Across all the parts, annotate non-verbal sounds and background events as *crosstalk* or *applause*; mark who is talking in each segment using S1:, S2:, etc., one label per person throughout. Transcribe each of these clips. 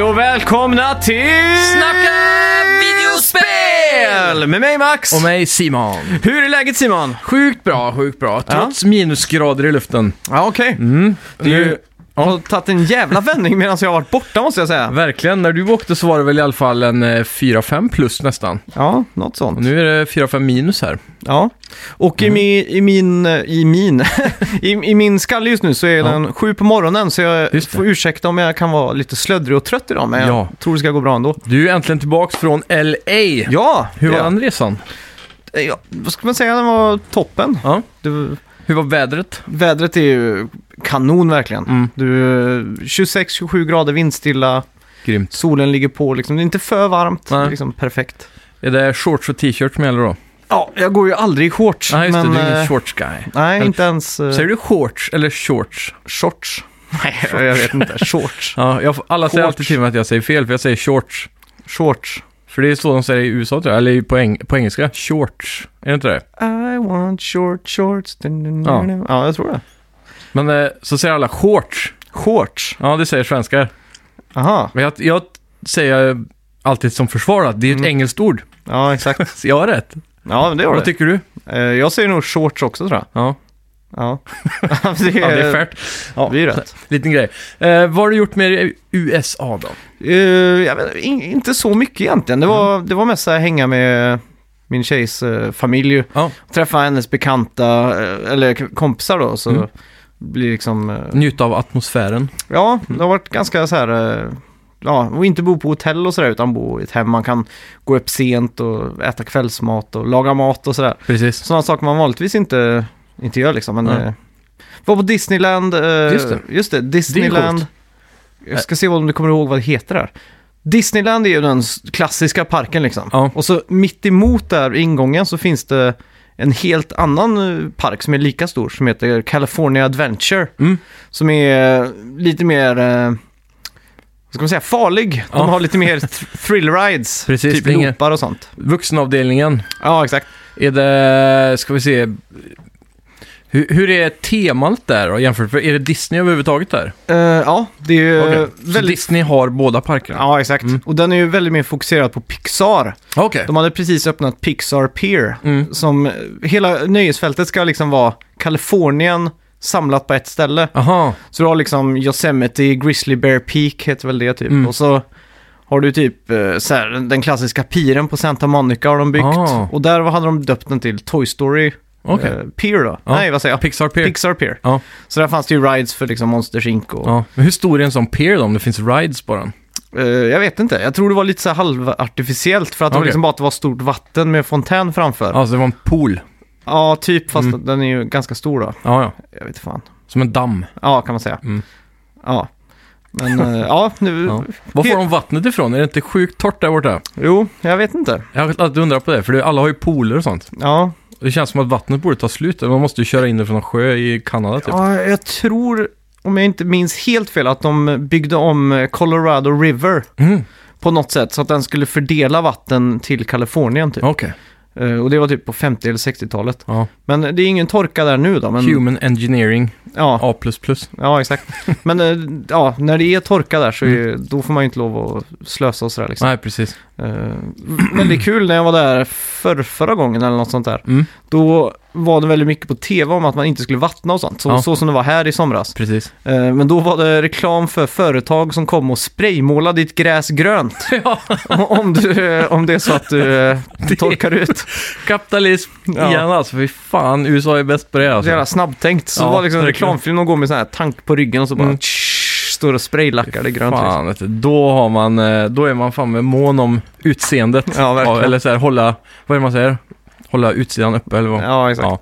S1: välkomna till...
S2: Snacka videospel!
S1: Med mig Max!
S2: Och mig Simon.
S1: Hur är läget Simon?
S2: Sjukt bra, sjukt bra. Trots minusgrader i luften.
S1: Ja, okej.
S2: Det är ju,
S1: Jag har tagit en jävla vändning medan jag har varit borta måste jag säga.
S2: verkligen, när du åkte så var det väl i alla fall en eh, 4-5 plus nästan.
S1: Ja, något sånt.
S2: Och nu är det 4-5 minus här.
S1: Ja. Och i, mi, i min... I min... *laughs* i, I min skalle just nu så är den sju på morgonen så jag
S2: Just det.
S1: får ursäkta om jag kan vara lite slöddrig och trött idag men
S2: Ja.
S1: jag tror det ska gå bra ändå.
S2: Du är äntligen tillbaks från LA.
S1: Ja!
S2: Hur var
S1: det-
S2: den resan?
S1: Ja, vad ska man säga? Den var toppen.
S2: Ja.
S1: Det,
S2: Hur var vädret?
S1: vädret är ju kanon verkligen.
S2: Mm,
S1: Du, 26-27 grader vindstilla,
S2: Grymt.
S1: solen ligger på, liksom. det är inte för varmt,
S2: Nej.
S1: det är liksom perfekt.
S2: Är det shorts och t-shirt som gäller då?
S1: Ja, jag går ju aldrig i shorts.
S2: Nej, just
S1: men,
S2: det. Du är ingen
S1: eh,
S2: shorts guy.
S1: Nej, inte ens eh,
S2: Säger du shorts eller shorts? *laughs*
S1: shorts. Nej, jag vet inte. Shorts.
S2: Ja, jag, alla säger
S1: Shorts.
S2: alltid till mig att jag säger fel, för jag säger shorts.
S1: Shorts.
S2: För det är så de säger i USA tror jag, eller på, eng- på engelska, shorts. Är det inte det?
S1: I want short shorts. Dun, dun,
S2: Ja.
S1: dun, dun. ja, jag tror det.
S2: Men eh, så säger alla shorts.
S1: Shorts.
S2: Ja, det säger svenskar.
S1: Aha,
S2: Men jag, jag säger alltid som försvar att det är ett
S1: Mm.
S2: engelskt ord.
S1: ja exakt.
S2: Så jag har rätt.
S1: Ja, men det var
S2: Vad
S1: det.
S2: tycker du?
S1: Eh, Jag säger nog shorts också tror jag.
S2: Ja,
S1: Ja, det,
S2: *laughs* ja det är färt. Ja,
S1: Det är ju rätt.
S2: Liten grej. Eh, vad har du gjort med USA då?
S1: Eh, jag vet, in, inte så mycket egentligen. Det var,
S2: Mm.
S1: det var mest så här hänga med min tjejs eh, familj. ju.
S2: Ja.
S1: Träffa hennes bekanta, eh, eller k- kompisar då. Så
S2: Mm.
S1: blir liksom, eh,
S2: Njuta av atmosfären.
S1: ja,
S2: Mm.
S1: det har varit ganska så här... eh, Ja, och inte bo på hotell och sådär utan bo i ett hem. Man kan gå upp sent och äta kvällsmat och laga mat och sådär.
S2: Precis.
S1: Sådana saker man vanligtvis inte, inte gör liksom. Men,
S2: Nej.
S1: eh, var på Disneyland. eh,
S2: Just det.
S1: Just det, Disneyland. Jag ska se om du kommer ihåg vad det heter där. Disneyland är ju den s- klassiska parken liksom.
S2: Ja.
S1: Och så mitt emot där i ingången så finns det en helt annan eh, park som är lika stor som heter California Adventure.
S2: Mm.
S1: Som är eh, lite mer, eh, vad ska man säga, farlig. De
S2: Ja.
S1: har lite mer th- thrill rides.
S2: *laughs* Precis,
S1: typ
S2: det är inget-
S1: loopar och sånt.
S2: Vuxenavdelningen.
S1: Ja, exakt.
S2: Är det, ska vi se, hur, hur är temat där då jämfört med, är det Disney överhuvudtaget där?
S1: Eh, ja, det är ju
S2: Okej.
S1: eh,
S2: Så
S1: väldigt
S2: Disney har båda parkerna?
S1: Ja, exakt.
S2: Mm.
S1: Och den är ju väldigt mer fokuserad på Pixar.
S2: Okej.
S1: De hade precis öppnat Pixar Pier.
S2: Mm.
S1: Som, eh, hela nöjesfältet ska liksom vara Kalifornien samlat på ett ställe.
S2: Aha.
S1: Så du har liksom Yosemite, Grizzly Bear Peak heter väl det typ.
S2: Mm.
S1: Och så har du typ eh, så här, den klassiska piren på Santa Monica har de byggt.
S2: Ah.
S1: Och där hade de döpt den till Toy Story
S2: Okej.
S1: eh, Pier då.
S2: Ja.
S1: Nej, vad säger jag?
S2: Pixar Pier.
S1: Eh, Pixar Pier.
S2: Ja.
S1: Så där fanns det ju rides för liksom Monsters Inc. och
S2: ja. Men hur stor är en sån pier då, om det finns rides på den?
S1: Eh, jag vet inte. Jag tror det var lite så här halvartificiellt för att det var
S2: Okej.
S1: liksom bara att det var stort vatten med fontän framför. Ja,
S2: Alltså det var en pool.
S1: typ. Fast
S2: Mm.
S1: den är ju ganska stor då.
S2: Ja, ja.
S1: Jag vet fan.
S2: Som en damm.
S1: Ja, kan man säga.
S2: Mm.
S1: Ja. Men
S2: *laughs*
S1: eh, ja, nu...
S2: Ja. Var får
S1: Helt-
S2: de vattnet ifrån? Är det inte sjukt torrt där borta?
S1: Jo, jag vet inte.
S2: Jag har alltid undrat på det, för det, alla har ju pooler och sånt.
S1: Ja.
S2: Det känns som att vattnet borde ta slut. Man måste ju köra in det från någon sjö i Kanada typ.
S1: ja, jag tror, om jag inte minns helt fel, att de byggde om eh, Colorado River
S2: Mm.
S1: på något sätt så att den skulle fördela vatten till Kalifornien typ.
S2: Okej.
S1: Eh, och det var typ på 50 eller 60-talet.
S2: Ja.
S1: Men det är ingen torka där nu då. Men,
S2: Human Engineering
S1: ja.
S2: A++.
S1: Ja, exakt. Men eh, ja, när det är torka där så är, då får man ju inte lov att slösa och sådär liksom.
S2: Mm. Nej, precis.
S1: Eh, väldigt kul när jag var där för, förra gången eller något sånt där.
S2: Mm.
S1: Då var det väldigt mycket på tv om att man inte skulle vattna och sånt. Så,
S2: Ja.
S1: så som det var här i somras.
S2: Precis.
S1: Eh, men då var det reklam för företag som kom och spraymålade ditt gräs grönt.
S2: *laughs* ja,
S1: O- om, du, eh, om det är så att du eh, torkar ut.
S2: kapitalism
S1: Ja.
S2: igen alltså. Fy fan, USA är bäst på det
S1: Så
S2: alltså.
S1: jävla snabbtänkt. Så
S2: Ja,
S1: var liksom
S2: verkligen.
S1: reklamfilm och går med sån här tank på ryggen och så bara
S2: Mm.
S1: tsch, står och spraylackar det grönt. Liksom.
S2: Fan, vet du, då, har man, eh, då är man fan med mån om utseendet.
S1: Ja, verkligen.
S2: eller så här, hålla, vad är det man säger? Hålla utsidan uppe eller vad?
S1: liksom. Ja, exakt.
S2: Ja.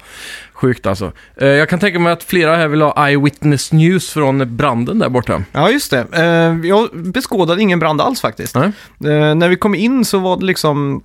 S2: Sjukt alltså. Eh, Jag kan tänka mig att flera här vill ha eyewitness news från branden där borta.
S1: Ja, just det. Eh, Jag beskådade ingen brand alls faktiskt.
S2: Nej?
S1: Eh, När vi kom in så var det liksom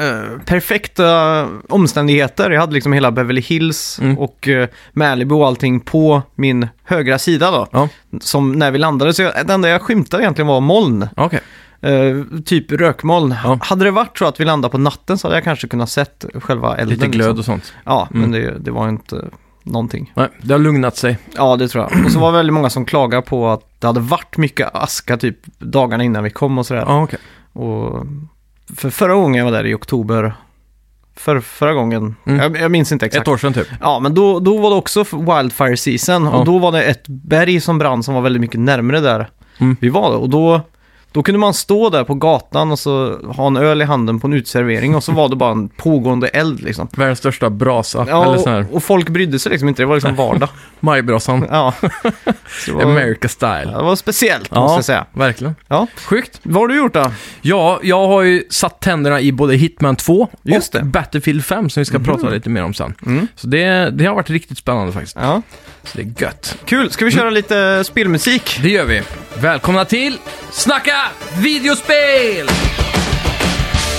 S1: eh, perfekta omständigheter. Jag hade liksom hela Beverly Hills
S2: Mm.
S1: och eh, Malibu och allting på min högra sida då.
S2: Ja,
S1: Som när vi landade. Så jag, det enda jag skymtade egentligen var moln.
S2: okej.
S1: Eh, Typ rökmoln.
S2: Ja.
S1: Hade det varit så att vi landade på natten så hade jag kanske kunnat sett själva elden.
S2: Lite glöd
S1: liksom.
S2: och sånt.
S1: Ja, men
S2: Mm.
S1: det, det var inte... eh, någonting.
S2: Nej, det har lugnat sig.
S1: Ja, det tror jag. Och så var det väldigt många som klagade på att det hade varit mycket aska typ dagarna innan vi kom och sådär.
S2: Ja, okej.
S1: Och för förra gången jag var där i oktober, för, förra gången,
S2: Mm.
S1: jag, jag minns inte exakt.
S2: Ett år sedan typ.
S1: Ja, men då, då var det också wildfire season
S2: Ja.
S1: och då var det ett berg som brann som var väldigt mycket närmre där
S2: Mm.
S1: vi var. Då. Och då, då kunde man stå där på gatan och så ha en öl i handen på en uteservering och så var det bara en pågående eld liksom.
S2: Världens största brasa. eller sån
S1: Ja,
S2: här
S1: och, och folk brydde sig liksom inte, det var liksom
S2: *laughs*
S1: vardag.
S2: majbrasan.
S1: Ja. Så det, var,
S2: America style.
S1: ja, det var speciellt
S2: Ja.
S1: måste jag säga.
S2: Verkligen.
S1: Ja.
S2: Sjukt.
S1: Vad har du gjort då?
S2: Ja, jag har ju satt tänderna i både Hitman 2
S1: Just
S2: och
S1: det. Mhm.
S2: Battlefield 5 som vi ska prata lite mer om sen.
S1: Mm.
S2: Så det, det har varit riktigt spännande faktiskt.
S1: Ja.
S2: Så det är gött.
S1: Kul, ska vi köra lite spelmusik?
S2: Det gör vi. Välkomna till Snacka videospel!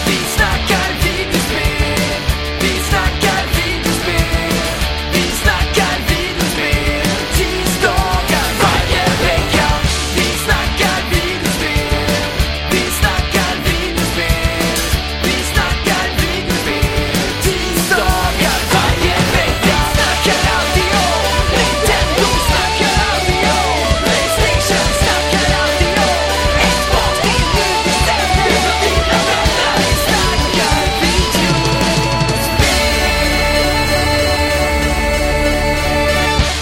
S3: Vi snackar videospel, vi snackar videospel, vi snackar videospel tisdagar varje vecka. Vi snackar videospel, vi snackar videospel, vi snackar videospel tisdagar varje vecka. Snackar alltid om Nintendo, snackar alltid om Playstation, snackar alltid om Xbox, EU, Nintendo, dina vänner. Vi snackar videospel.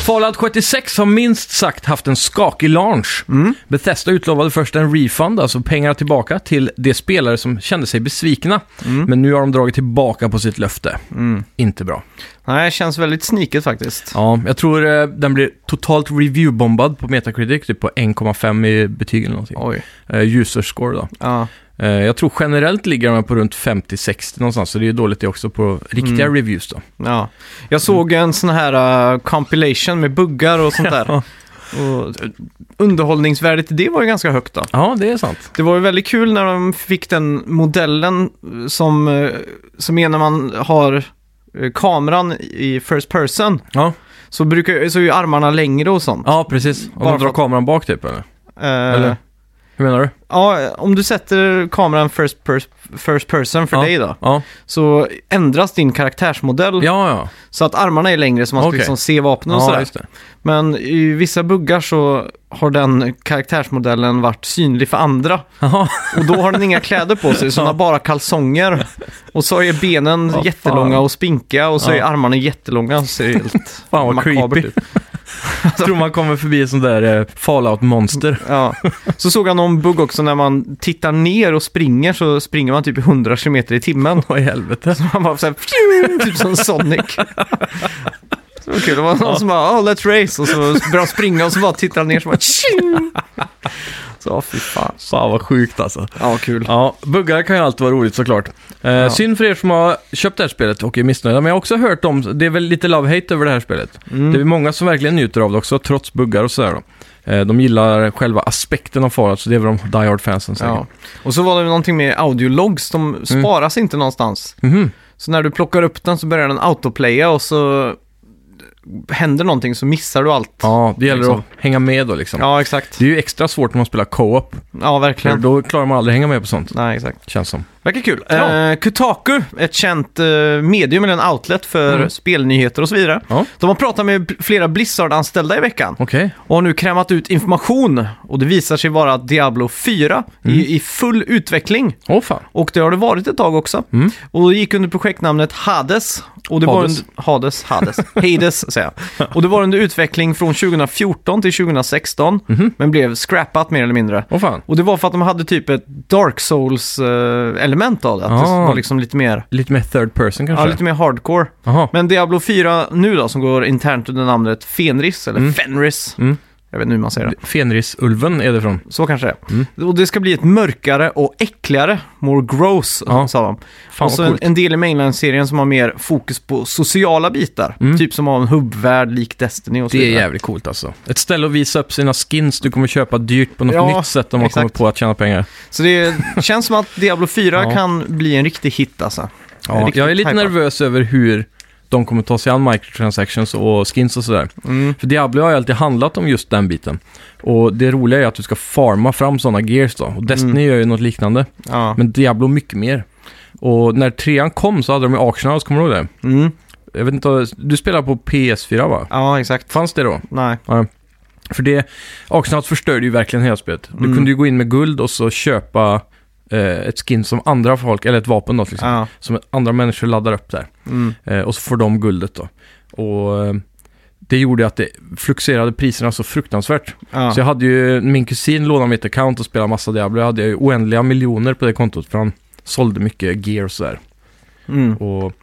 S2: Fallout 76 har minst sagt haft en skakig launch. Bethesda utlovade först en refund, alltså pengar tillbaka, till de spelare som kände sig besvikna. Men nu har de dragit tillbaka på sitt löfte. Inte bra.
S1: Nej, känns väldigt sniket faktiskt.
S2: Mm. Ja, jag tror eh, den blir totalt reviewbombad på Metacritic, typ på 1,5 i betyg eller någonting.
S1: Oj.
S2: Eh, user score då.
S1: Ja.
S2: Eh, jag tror generellt ligger den på runt 50-60 någonstans, så det är ju dåligt det också på riktiga reviews då.
S1: Ja. Jag såg en sån här uh, compilation med buggar och sånt där.
S2: Mm. *laughs* Ja.
S1: och eh, underhållningsvärdet i det var ju ganska högt då.
S2: Ja, det är sant.
S1: Det var ju väldigt kul när de fick den modellen eh, som, eh, som är när man har eh, kameran i first person.
S2: Ja,
S1: Så, brukar, så är ju armarna längre och sånt.
S2: ja precis. Om
S1: Bara
S2: man drar
S1: för-
S2: kameran bak typ, eller?
S1: Eh,
S2: eller? Hur menar du?
S1: Ja, om du sätter kameran first, pers- first person för
S2: Ja.
S1: dig då,
S2: Ja,
S1: så ändras din karaktärsmodell
S2: ja, ja.
S1: så att armarna är längre så man ska
S2: Okej.
S1: liksom se vapnen och
S2: ja
S1: sådär.
S2: just det.
S1: Men i vissa buggar så har den karaktärsmodellen varit synlig för andra.
S2: Jaha,
S1: Och då har den inga kläder på sig,
S2: *laughs*
S1: så den har bara kalsonger. Och så är benen
S2: Vad
S1: jättelånga
S2: fan.
S1: och spinkiga och så är
S2: Ja.
S1: armarna jättelånga. Så ser det helt
S2: fan vad
S1: makabert
S2: creepy.
S1: ut.
S2: tror man kommer förbi ett sånt där eh, fallout-monster.
S1: Ja. Så såg jag någon bugg också när man tittar ner och springer så springer man typ 100 km i timmen.
S2: Vad i helvete?
S1: Man bara såhär, fjum, typ som Sonic. Så det var kul, det var någon som bara oh, let's race” och så började de springa och så bara tittar de ner så bara tjing. Så fy fan.
S2: Fan vad sjukt alltså.
S1: Ja, kul.
S2: Ja, buggar kan ju alltid vara roligt såklart. Eh, Synd för er som har köpt det här spelet och är missnöjda, men jag har också hört om, det är väl lite love-hate över det här spelet.
S1: mm.
S2: Det är många som verkligen njuter av det också, trots buggar och sådär då. Eh, de gillar själva aspekten av Fallout, så det är väl de Die Hard-fansen säkert. Mm.
S1: Ja. Och så var det någonting med audiologs, de sparas inte någonstans.
S2: Mhm.
S1: Så när du plockar upp den så börjar den autoplaya och så händer någonting så missar du allt.
S2: ja det gäller
S1: Liksom.
S2: att hänga med då liksom.
S1: Ja, exakt.
S2: Det är ju extra svårt när man spelar co-op,
S1: Ja,
S2: för
S1: verkligen.
S2: då klarar man aldrig hänga med på sånt,
S1: Nej, exakt.
S2: känns som.
S1: Verkar kul.
S2: Ja.
S1: Eh, Kotaku, ett känt eh, medium eller en outlet för
S2: Mm.
S1: spelnyheter och så vidare.
S2: Ja.
S1: De har pratat med b- flera Blizzard-anställda i veckan
S2: Okej.
S1: och har nu krämat ut information. Och det visar sig vara Diablo 4
S2: Mm.
S1: i, i full utveckling.
S2: Åh fan.
S1: Och det har det varit ett tag också.
S2: Mm.
S1: Och det gick under projektnamnet Hades. Och det
S2: Hades.
S1: Var under, Hades,
S2: *laughs*
S1: Hades. Hades säger jag. Och det var under utveckling från 2014 till 2016.
S2: Mhm.
S1: Men blev scrappat mer eller mindre.
S2: Åh fan.
S1: Och det var för att de hade typ ett Dark Souls-element av det. Att
S2: Ah.
S1: det var liksom lite mer,
S2: Lite mer third person kanske?
S1: ja, lite mer hardcore.
S2: Jaha.
S1: Men Diablo 4 nu då, som går internt under namnet Fenris, eller
S2: Mm.
S1: Fenris.
S2: Mm.
S1: Jag vet inte hur man säger det.
S2: Fenrisulven är det från.
S1: Så kanske det är.
S2: Mm.
S1: Och det ska bli ett mörkare och äckligare, more gross,
S2: Ja.
S1: sa de.
S2: Fan
S1: och så
S2: vad
S1: en,
S2: coolt.
S1: en del i mainline-serien som har mer fokus på sociala bitar.
S2: Mm.
S1: Typ som har en hubbvärld lik Destiny och så
S2: Det är
S1: vidare.
S2: jävligt coolt alltså. Ett ställe att visa upp sina skins du kommer köpa dyrt på något
S1: Ja,
S2: nytt sätt om man
S1: exakt.
S2: kommer på att tjäna pengar.
S1: Så det känns som att Diablo 4
S2: *laughs* Ja.
S1: kan bli en riktig hit alltså. är
S2: Ja,
S1: riktigt
S2: jag är lite
S1: hypad.
S2: nervös över hur de kommer ta sig an microtransactions och skins och sådär.
S1: Mm.
S2: För Diablo har ju alltid handlat om just den biten. Och det roliga är att du ska farma fram sådana gears då. Och Destiny
S1: Mm.
S2: gör ju något liknande.
S1: Ja.
S2: Men Diablo mycket mer. Och när trean kom så hade de ju auctionhouse, kommer du ihåg det?
S1: Mm.
S2: Jag vet inte, du spelar på PS4 va?
S1: Ja, exakt.
S2: Fanns det då?
S1: Nej.
S2: För det, Oxnard förstörde ju verkligen hela spelet. Du
S1: Mm.
S2: kunde ju gå in med guld och så köpa eh, ett skin som andra folk, eller ett vapen då till exempel,
S1: Ja.
S2: som andra människor laddar upp där.
S1: Mm.
S2: Eh, och så får de guldet då. Och eh, det gjorde att det fluktuerade priserna så fruktansvärt.
S1: Ja.
S2: Så jag hade ju, min kusin lånade mitt account och spelade massa Diablo. Jag hade ju oändliga miljoner på det kontot för han sålde mycket gear och sådär.
S1: Mm.
S2: Och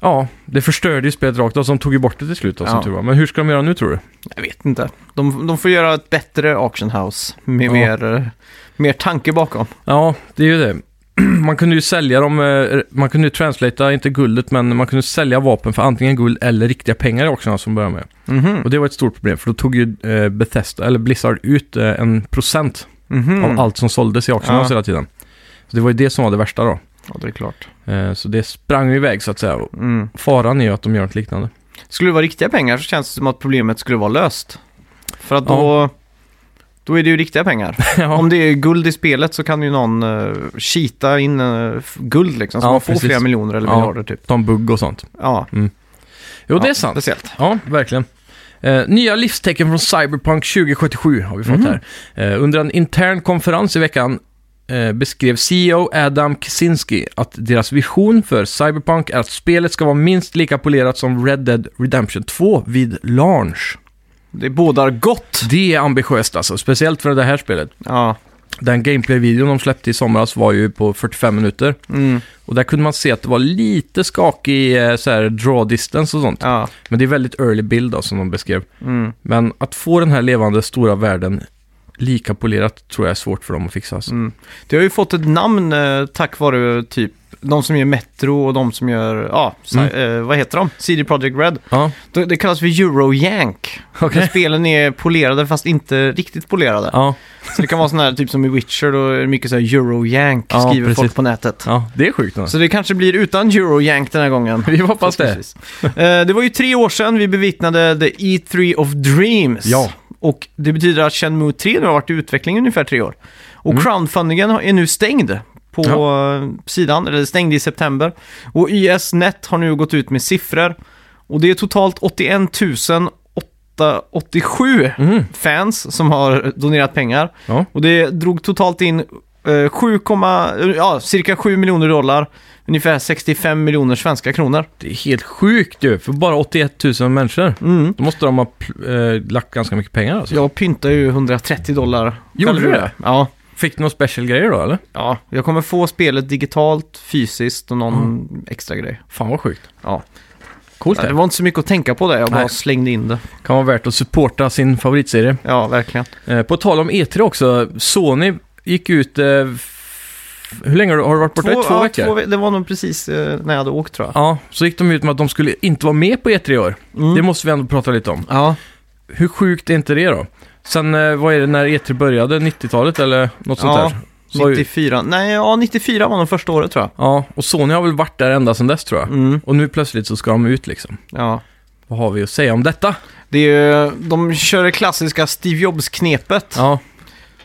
S2: ja, det förstörde ju spelet rakt av, så de tog ju bort det till slut då, som
S1: Ja.
S2: tur var. Men hur ska de göra nu tror du?
S1: Jag vet inte. De, de får göra ett bättre auction house med
S2: Ja.
S1: mer, eh, mer tanke bakom.
S2: Ja, det är ju det. *clears throat* Man kunde ju sälja dem, eh, man kunde ju translatea, inte guldet, men man kunde sälja vapen för antingen guld eller riktiga pengar också alltså, som börjar med.
S1: Mhm.
S2: Och det var ett stort problem, för då tog ju eh, Bethesda, eller Blizzard, ut eh, en procent
S1: Mhm.
S2: av allt som såldes i auction
S1: Ja.
S2: house hela tiden. Så det var ju det som var det värsta då.
S1: Ja, det är klart.
S2: Eh, Så det sprang ju iväg så att säga. Och
S1: Mm.
S2: Faran är ju att de gör något liknande. *laughs*
S1: Skulle det vara riktiga pengar så känns det som att problemet skulle vara löst. För att då, då är det ju riktiga pengar.
S2: ja,
S1: Om det är guld i spelet så kan ju någon uh, cheata in eh, f- guld liksom. Så
S2: Ja,
S1: man får
S2: precis.
S1: flera miljoner eller
S2: Ja.
S1: miljarder typ.
S2: ta en bugg och sånt.
S1: Ja.
S2: Jo, det
S1: ja,
S2: är sant.
S1: Speciellt.
S2: Ja, verkligen. Eh, nya livstecken från Cyberpunk 2077 har vi fått
S1: Mhm.
S2: här. Eh, under en intern konferens i veckan eh, beskrev CEO Adam Kaczynski att deras vision för Cyberpunk är att spelet ska vara minst lika polerat som Red Dead Redemption 2 vid launch.
S1: Det bådar gott.
S2: Det är ambitiöst alltså, speciellt för det här spelet.
S1: Ja.
S2: Den gameplay-videon de släppte i somras var ju på 45 minuter.
S1: Mm.
S2: Och där kunde man se att det var lite skakig eh, så här, draw distance och sånt.
S1: Ja.
S2: Men det är väldigt early bild då, som de beskrev.
S1: Mm.
S2: Men att få den här levande stora världen lika polerat tror jag är svårt för dem att fixa. Alltså.
S1: Mm. Det har ju fått ett namn eh, tack vare typ de som gör Metro och de som gör, ja, si-
S2: Mm.
S1: eh, vad heter de? CD Projekt Red.
S2: Ja,
S1: Det, det kallas för Eurojank.
S2: okej.
S1: När spelen är polerade fast inte riktigt polerade.
S2: *laughs* Ja,
S1: Så det kan vara sån här typ som i Witcher, då är det mycket så här Eurojank
S2: Ja,
S1: skriver
S2: precis.
S1: folk på nätet.
S2: ja, det är sjukt. alltså. Då.
S1: Så det kanske blir utan Eurojank den här gången.
S2: Vi hoppas det.
S1: Förhoppningsvis. Eh, det var ju tre år sedan vi bevittnade The E3 of Dreams.
S2: Ja.
S1: Och det betyder att Shenmue 3 nu har varit i utveckling i ungefär tre år. Och
S2: Mm.
S1: crowdfundingen har- är nu stängd på eh, sidan, eller stängd i september. Och IS.net har nu gått ut med siffror. Och det är totalt 81 887
S2: Mm.
S1: fans som har donerat pengar.
S2: Ja.
S1: Och det drog totalt in eh, 7, ja, cirka 7 miljoner dollar, ungefär 65 miljoner svenska kronor.
S2: Det är helt sjukt ju, för bara 81 000 människor. Då måste de ha pl- eh, lagt ganska mycket pengar alltså.
S1: Mm. Jag pyntade ju 130 dollar.
S2: Gjorde
S1: Själv
S2: du
S1: gjorde
S2: det?
S1: jag. Ja.
S2: Fick du några special grejer då eller?
S1: ja. Jag kommer få spelet digitalt, fysiskt och någon extra grej.
S2: Mm. Fan vad sjukt.
S1: Ja.
S2: Coolt
S1: Nej, Det
S2: det.
S1: var inte så mycket att tänka på där, jag bara
S2: Nej.
S1: slängde in det.
S2: Kan vara värt att supporta sin favoritserie.
S1: Ja, verkligen.
S2: Eh, på tal om E3 också, Sony gick ut... Eh, f- hur länge har du- har du varit borta? I två
S1: ja,
S2: veckor?
S1: ve- det var nog precis eh, när jag hade åkt tror jag.
S2: Ja, så gick de ut med att de skulle inte vara med på E3 i år.
S1: Mm.
S2: Det måste vi ändå prata lite om.
S1: Ja,
S2: Hur sjukt är inte det då? Sen, eh, vad är det när E3 började? 90-talet eller något sånt
S1: Ja,
S2: där? Så har ju-
S1: 94. Nej, ja, 94 var nog första året tror jag.
S2: Ja, och Sony har väl varit där ända sedan dess tror jag.
S1: Mm.
S2: Och nu plötsligt så ska de ut liksom.
S1: Ja.
S2: Vad har vi att säga om detta?
S1: Det är ju, de kör det klassiska Steve Jobs-knepet.
S2: Ja,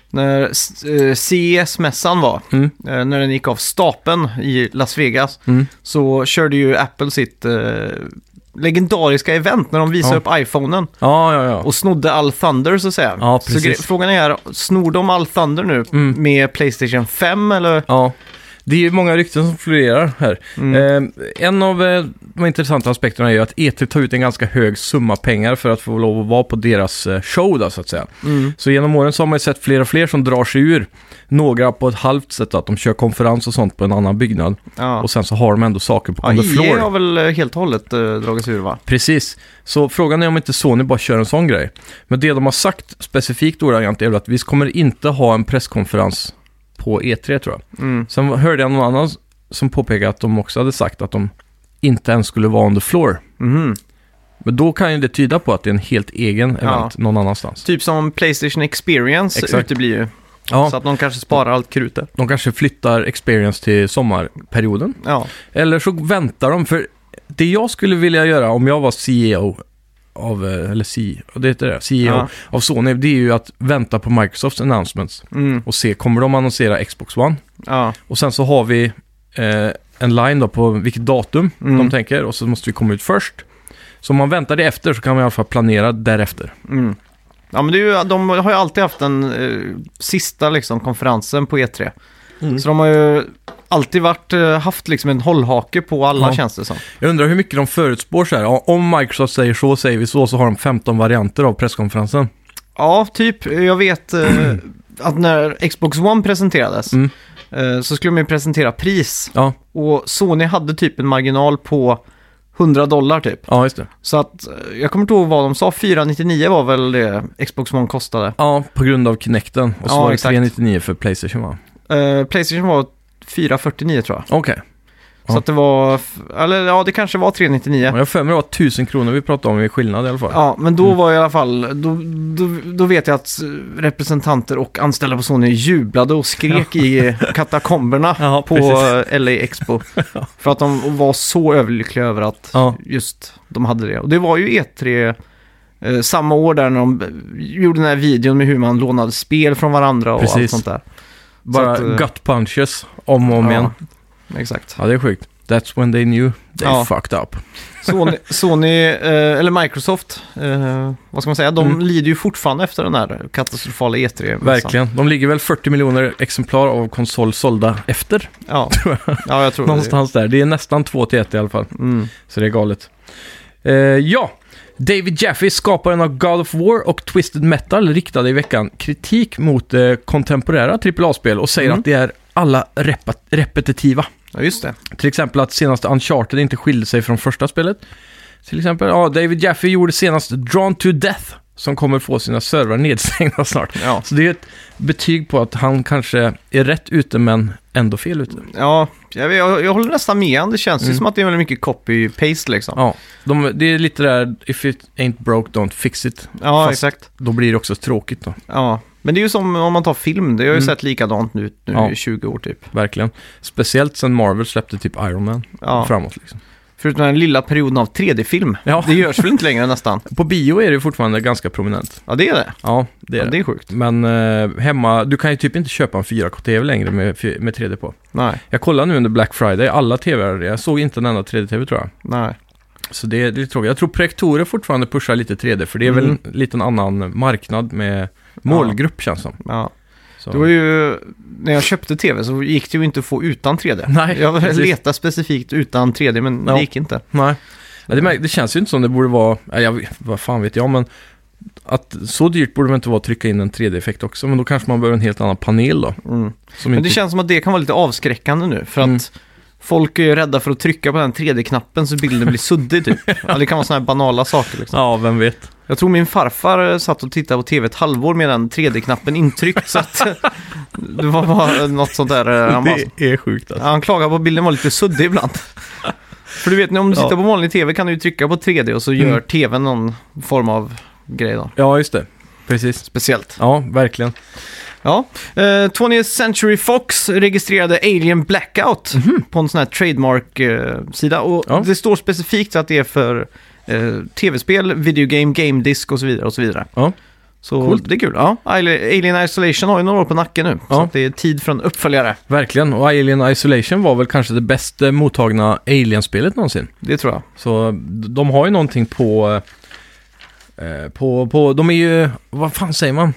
S1: När eh, CES-mässan var,
S2: Mm.
S1: eh, när den gick av stapeln i Las Vegas,
S2: Mm.
S1: så körde ju Apple sitt eh, legendariska event när de visade
S2: Ja.
S1: upp iPhonen
S2: ja, ja. ja.
S1: och snodde all Thunder så att säga.
S2: Ja,
S1: så
S2: precis.
S1: gre- frågan är, snor de all Thunder nu
S2: Mm.
S1: med Playstation 5 eller?
S2: ja. Det är ju många rykten som florerar här.
S1: Mm.
S2: Eh, en av eh, de intressanta aspekterna är ju att E3 tar ut en ganska hög summa pengar för att få lov att vara på deras eh, show då, så att säga.
S1: Mm.
S2: Så genom åren så har man ju sett fler och fler som drar sig ur. Några på ett halvt sätt, att de kör konferens och sånt på en annan byggnad.
S1: Ja.
S2: Och sen så har de ändå saker på
S1: Ja,
S2: on the
S1: EA har
S2: floor.
S1: väl eh, helt och hållet eh, dragits ur va?
S2: Precis. Så frågan är om inte Sony bara kör en sån grej. Men det de har sagt specifikt ordagrant är väl att vi kommer inte ha en presskonferens på E3 tror jag.
S1: Mm.
S2: Sen hörde jag någon annan som påpekade att de också hade sagt att de inte ens skulle vara on the floor. Mm.
S1: Mhm.
S2: Men då kan ju det tyda på att det är en helt egen event någon annanstans.
S1: Typ som Playstation Experience
S2: Exakt.
S1: uteblir ju.
S2: Ja,
S1: Så att de kanske sparar allt krut där.
S2: de kanske flyttar experience till sommarperioden.
S1: Ja.
S2: Eller så väntar de, för det jag skulle vilja göra om jag var CEO av, eh, eller CEO, det heter det, CEO
S1: Ja.
S2: av Sony, det är ju att vänta på Microsofts announcements
S1: Mm.
S2: och se, kommer de annonsera Xbox One?
S1: Ja.
S2: Och sen så har vi eh, en line då på vilket datum
S1: Mm.
S2: de tänker och så måste vi komma ut först. Så om man väntar det efter så kan man i alla fall planera därefter.
S1: Mm. Ja, men det är ju, de har ju alltid haft den eh, sista liksom, konferensen på E3.
S2: Mm.
S1: Så de har ju alltid varit, eh, haft liksom en hållhake på alla
S2: Ja.
S1: känns det som.
S2: Jag undrar hur mycket de förutspår så här. Ja, Om Microsoft säger så, säger vi så, så har de 15 varianter av presskonferensen.
S1: Ja, typ. Jag vet
S2: *clears throat*
S1: eh, att när Xbox One presenterades
S2: Mm.
S1: eh, så skulle de ju presentera pris.
S2: Ja,
S1: Och Sony hade typ en marginal på 100 dollar typ.
S2: ja just det.
S1: Så att, eh, jag kommer inte ihåg vad de sa, 499 var väl det Xbox One kostade.
S2: Ja, på grund av Kinecten. Och så
S1: Ja,
S2: var det
S1: exakt.
S2: 399 för Playstation va?
S1: Eh, Playstation var 449 tror jag.
S2: Okej. Ja.
S1: Så att det var, f- eller ja det kanske var 399.
S2: Jag har för mig det var 1000 kronor vi pratade om i skillnad i alla fall.
S1: Ja, men
S2: Mm.
S1: då var i alla fall, då, då, då vet jag att representanter och anställda på Sony jublade och skrek i katakomberna
S2: Ja,
S1: på eh,
S2: precis.
S1: LA
S2: *laughs*
S1: Expo. För att de var så överlyckliga över att
S2: Ja.
S1: just de hade det. Och det var ju E3 eh, samma år där när de eh, gjorde den här videon med hur man lånade spel från varandra och allt
S2: Precis.
S1: sånt där.
S2: Bara
S1: Så att, eh,
S2: gut punches om och om
S1: ja.
S2: igen.
S1: Exakt.
S2: Ja, det är sjukt. That's when they knew they
S1: Ja.
S2: fucked up.
S1: Sony, Sony eh, eller Microsoft, eh, vad ska man säga, de
S2: Mm.
S1: lider ju fortfarande efter den här katastrofala E E3. -mässan.
S2: Verkligen. De ligger väl 40 miljoner exemplar av konsol sålda efter. *laughs*
S1: Ja, ja jag tror det.
S2: Någonstans där. Det är nästan 2 till 1 i alla fall.
S1: Mm.
S2: Så det är galet. Eh, ja, David Jaffe, skaparen av God of War och Twisted Metal, riktade i veckan kritik mot eh, kontemporära AAA-spel och säger
S1: Mm.
S2: att det är alla repa- repetitiva.
S1: Ja, just det.
S2: Till exempel att senaste Uncharted inte skilde sig från första spelet. Till exempel, ja, David Jaffe gjorde senast Drawn to Death, som kommer få sina servrar nedstängda *laughs* snart.
S1: Ja,
S2: Så det är ett betyg på att han kanske är rätt ute, men ändå fel ute.
S1: ja jag, vet- jag, jag håller nästan med han. Det känns ju
S2: Mm.
S1: som att det är väldigt mycket copy-paste liksom.
S2: Ja, de, det är lite där, if it ain't broke, don't fix it.
S1: Ja,
S2: Fast-
S1: exakt.
S2: Då blir det också tråkigt då.
S1: Ja. Men det är ju som om man tar film, det har ju
S2: Mm.
S1: sett likadant ut nu
S2: Ja.
S1: i 20 år typ.
S2: Verkligen. Speciellt sen Marvel släppte typ Iron Man
S1: Ja.
S2: framåt. Liksom.
S1: Förutom den lilla perioden av 3D-film.
S2: Ja.
S1: Det görs väl inte längre nästan?
S2: På bio är det fortfarande ganska prominent.
S1: Ja, det är det.
S2: Ja, det är
S1: Ja,
S2: det.
S1: det är sjukt.
S2: Men eh, hemma, du kan ju typ inte köpa en 4K-TV längre med, fy- med 3D på.
S1: Nej,
S2: Jag kollade nu under Black Friday, alla TV:ar, jag såg inte en enda 3D-TV tror jag.
S1: nej.
S2: Så det, är- det är tråkigt. Jag tror projektorer fortfarande pushar lite 3D, för det är väl
S1: Mm.
S2: en liten annan marknad med målgrupp känns som.
S1: Ja.
S2: Så.
S1: Det var ju, när jag köpte tv så gick det ju inte att få utan 3D.
S2: Nej,
S1: jag
S2: precis.
S1: letade specifikt utan 3D men
S2: Ja.
S1: det gick inte.
S2: Nej, Ja, det, mär- det känns ju inte som det borde vara, ja, jag, vet- vad fan vet jag, men att så dyrt borde det inte vara att trycka in en 3D-effekt också, men då kanske man behöver en helt annan panel då.
S1: Mm.
S2: Som
S1: Men
S2: inte,
S1: det känns som att det kan vara lite avskräckande nu, för
S2: Mm.
S1: att folk är ju rädda för att trycka på den 3D-knappen så bilden blir suddig
S2: *laughs*
S1: typ. ja, det kan vara sådana här banala saker liksom.
S2: Ja, vem vet.
S1: Jag tror min farfar eh, satt och tittade på tv ett halvår med den 3D-knappen intryckt, så att *laughs* eh, det var bara något sånt där. eh, Han, bara,
S2: Det är sjukt
S1: Ja,
S2: alltså.
S1: han klagade på att bilden var lite suddig ibland. För du vet, om du
S2: Ja.
S1: sitter på vanlig tv kan du ju trycka på 3D och så gör
S2: Mm.
S1: tvn någon form av grej då.
S2: Ja, just det. Precis.
S1: Speciellt.
S2: Ja, verkligen.
S1: Ja, eh, 20th Century Fox registrerade Alien Blackout på en sån här trademark-sida. och
S2: Mhm. Ja.
S1: det står specifikt att det är för eh, tv-spel, videogame, game disk och så vidare. Och så vidare.
S2: Ja.
S1: Så
S2: Coolt.
S1: det är kul. Ja. Ali- Alien Isolation har ju några år på nacken nu, så
S2: Ja.
S1: att det är tid för en uppföljare.
S2: Verkligen, och Alien Isolation var väl kanske det bäst eh, mottagna Alien-spelet någonsin.
S1: Det tror jag.
S2: Så d- de har ju någonting på... eh, På, på, de är ju, vad fan säger man?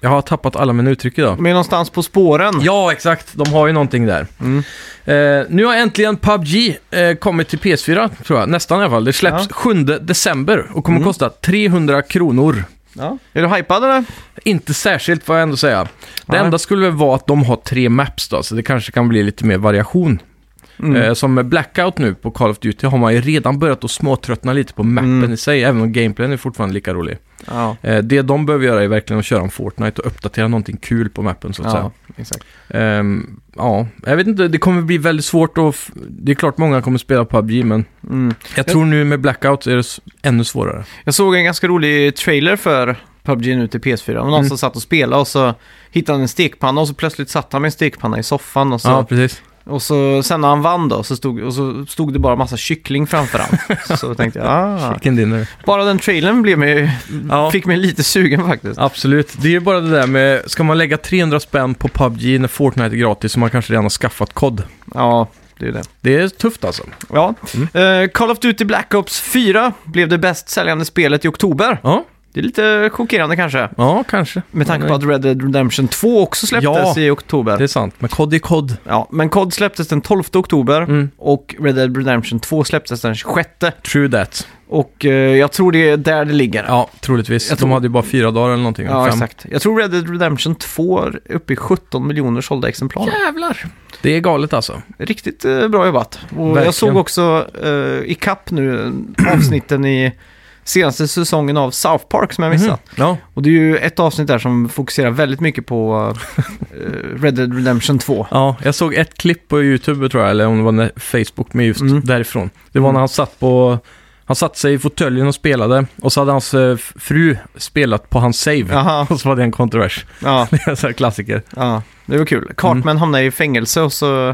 S2: Jag har tappat alla mina uttryck idag.
S1: De är någonstans på spåren.
S2: Ja, exakt. De har ju någonting där.
S1: Mm.
S2: Eh, nu har äntligen PubG eh, kommit till PS4, tror jag. Nästan i alla fall. Det släpps
S1: Ja.
S2: 7 december och kommer
S1: Mm.
S2: kosta 300 kronor.
S1: Ja. Är du hypad eller?
S2: Inte särskilt, får jag ändå säga. Det
S1: Nej.
S2: enda skulle väl vara att de har tre maps då, så det kanske kan bli lite mer variation.
S1: Mm.
S2: Eh, som med Blackout nu på Call of Duty har man ju redan börjat att småtröttna lite på mappen
S1: Mm.
S2: i sig, även om gameplayen är fortfarande lika rolig.
S1: Ja.
S2: Eh, det de behöver göra är verkligen att köra om Fortnite och uppdatera någonting kul på mappen, så att säga.
S1: ja, exakt.
S2: Ehm, ja, jag vet inte. Det kommer bli väldigt svårt att... f- Det är klart många kommer spela PubG, men
S1: Mm.
S2: jag tror nu med Blackout så är det s- ännu svårare.
S1: Jag såg en ganska rolig trailer för PubG nu till PS4. Det var någon
S2: Mm.
S1: som satt och spelade och så hittade han en stekpanna och så plötsligt satt han med en stekpanna i soffan. Och så,
S2: Ja, precis.
S1: och så sen när han vann då så stod, och så stod det bara massa kyckling framför
S2: *laughs*
S1: han. så tänkte jag, ah.
S2: Vilken dinner.
S1: Bara den trailern blev mig,
S2: Ja.
S1: fick mig lite sugen faktiskt.
S2: Absolut. Det är ju bara det där med... Ska man lägga 300 spänn på PubG när Fortnite är gratis så man kanske redan har skaffat kod?
S1: Ja, det är ju det.
S2: Det är tufft alltså.
S1: Ja.
S2: Mm.
S1: Eh, Call of Duty Black Ops 4 blev det bäst säljande spelet i oktober.
S2: Ja,
S1: Det är lite chockerande kanske.
S2: ja kanske.
S1: Med tanke
S2: Ja,
S1: på att Red Dead Redemption 2 också släpptes
S2: Ja.
S1: i oktober.
S2: Det är sant, men kod är kod.
S1: Ja, men COD släpptes den 12 oktober
S2: Mm.
S1: och Red Dead Redemption 2 släpptes den 26.
S2: True that.
S1: Och eh, jag tror det är där det ligger.
S2: Ja, troligtvis.
S1: Jag
S2: De
S1: tror-
S2: hade ju bara fyra dagar eller någonting.
S1: Ja,
S2: Fem.
S1: exakt. Jag tror Red Dead Redemption 2 är uppe i 17 miljoner sålda exemplar.
S2: Jävlar! Det är galet alltså.
S1: Riktigt eh, bra jobbat. Och
S2: Verkligen.
S1: jag såg också eh, i kapp nu eh, avsnitten i senaste säsongen av South Park som jag missat.
S2: Mhm. Ja.
S1: Och det är ju ett avsnitt där som fokuserar väldigt mycket på eh, Red Dead Redemption 2.
S2: ja, jag såg ett klipp på YouTube tror jag, eller om det var när- Facebook, med just
S1: Mm.
S2: därifrån. Det var
S1: Mm.
S2: när han satt på... Han satt sig i fåtöljen och spelade och så hade hans eh, f- fru spelat på hans save.
S1: Jaha,
S2: *laughs* Och så var det
S1: *laughs*
S2: en kontrovers.
S1: ja,
S2: Det är en sån här klassiker.
S1: ja, det var kul. Cartman
S2: Mm.
S1: hamnar i fängelse och så,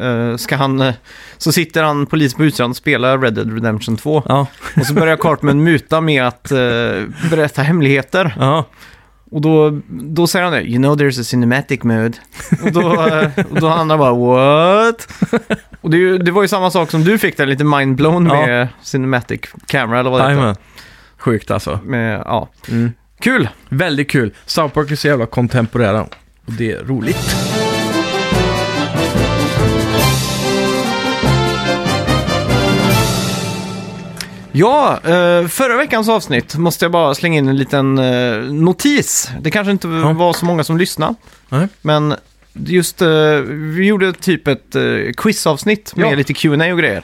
S1: eh, ska han, eh, så sitter han polis på utsidan och spelar Red Dead Redemption 2.
S2: Ja,
S1: Och så börjar
S2: *laughs*
S1: Cartman muta med att eh, berätta hemligheter.
S2: ja.
S1: Och då, då säger han det, you know there's a cinematic mode. Och då, eh, och då andra bara, what? Och det, är ju- det var ju samma sak som du fick där, lite mindblown
S2: Ja.
S1: med cinematic camera eller vad det heter.
S2: Jajamän. Mm. Sjukt alltså.
S1: Med, ja. Kul!
S2: Väldigt kul. South Park är så jävla kontemporära. Och det är roligt.
S1: Ja, eh, förra veckans avsnitt måste jag bara slänga in en liten eh, notis. Det kanske inte var så många som lyssnade.
S2: Nej.
S1: Men just, eh, vi gjorde typ ett eh, quizavsnitt med
S2: Ja.
S1: lite Q&A och grejer.